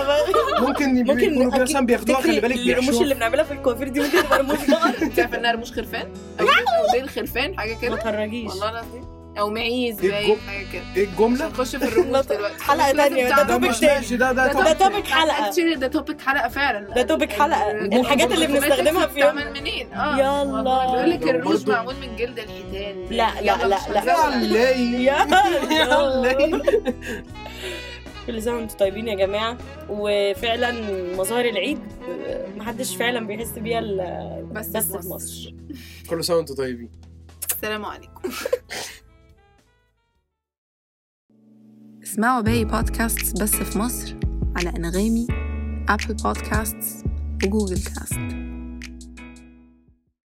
Speaker 4: ممكن
Speaker 3: ممكن يبقوا- يكونوا
Speaker 4: أكيد
Speaker 3: مثلا بياخدوها
Speaker 4: تفتكري
Speaker 3: خلي بالك
Speaker 4: الرموش
Speaker 3: بيحشوها.
Speaker 4: اللي بنعملها في الكوافير دي ممكن تبقى رموش بقر
Speaker 5: انت عارف انها رموش خرفان او أو ديل خرفان حاجه
Speaker 4: ما
Speaker 5: كده
Speaker 4: تهرجيش
Speaker 5: والله العظيم او معيز
Speaker 3: إيه
Speaker 5: باين
Speaker 3: الجو-
Speaker 5: حاجه كده
Speaker 3: ايه
Speaker 5: مش
Speaker 3: الجمله
Speaker 5: هنخش في الرموش دلوقتي
Speaker 4: حلقة تانية، ده
Speaker 3: ده
Speaker 4: topic
Speaker 3: مش
Speaker 4: تاني.
Speaker 3: ماشي ده
Speaker 4: ده-
Speaker 3: ده
Speaker 4: ده topic حلقه
Speaker 5: اكشلي ده توبيك حلقه فعلا
Speaker 4: ده topic حلقة. الحاجات اللي بنستخدمها في يوم-
Speaker 5: بتعمل منين اه
Speaker 4: يلا.
Speaker 5: والله بيقول لك الرموش
Speaker 3: برضو.
Speaker 5: معمول من جلد الحيتان
Speaker 4: لا، لا،
Speaker 5: يلا
Speaker 4: لا،
Speaker 5: مش
Speaker 4: لا.
Speaker 5: هنزعل.
Speaker 3: الليل
Speaker 4: يا
Speaker 3: يلا.
Speaker 4: كل سنه وانتم طيبين يا جماعه وفعلا مظاهر العيد محدش فعلا بيحس بيها ال-
Speaker 5: بس
Speaker 4: بس
Speaker 5: في
Speaker 4: في مصر
Speaker 3: كل سنه وانتم طيبين
Speaker 5: السلام عليكم اسمعوا باقي بودكاست بس في مصر على انغامي ابل بودكاست وجوجل كاست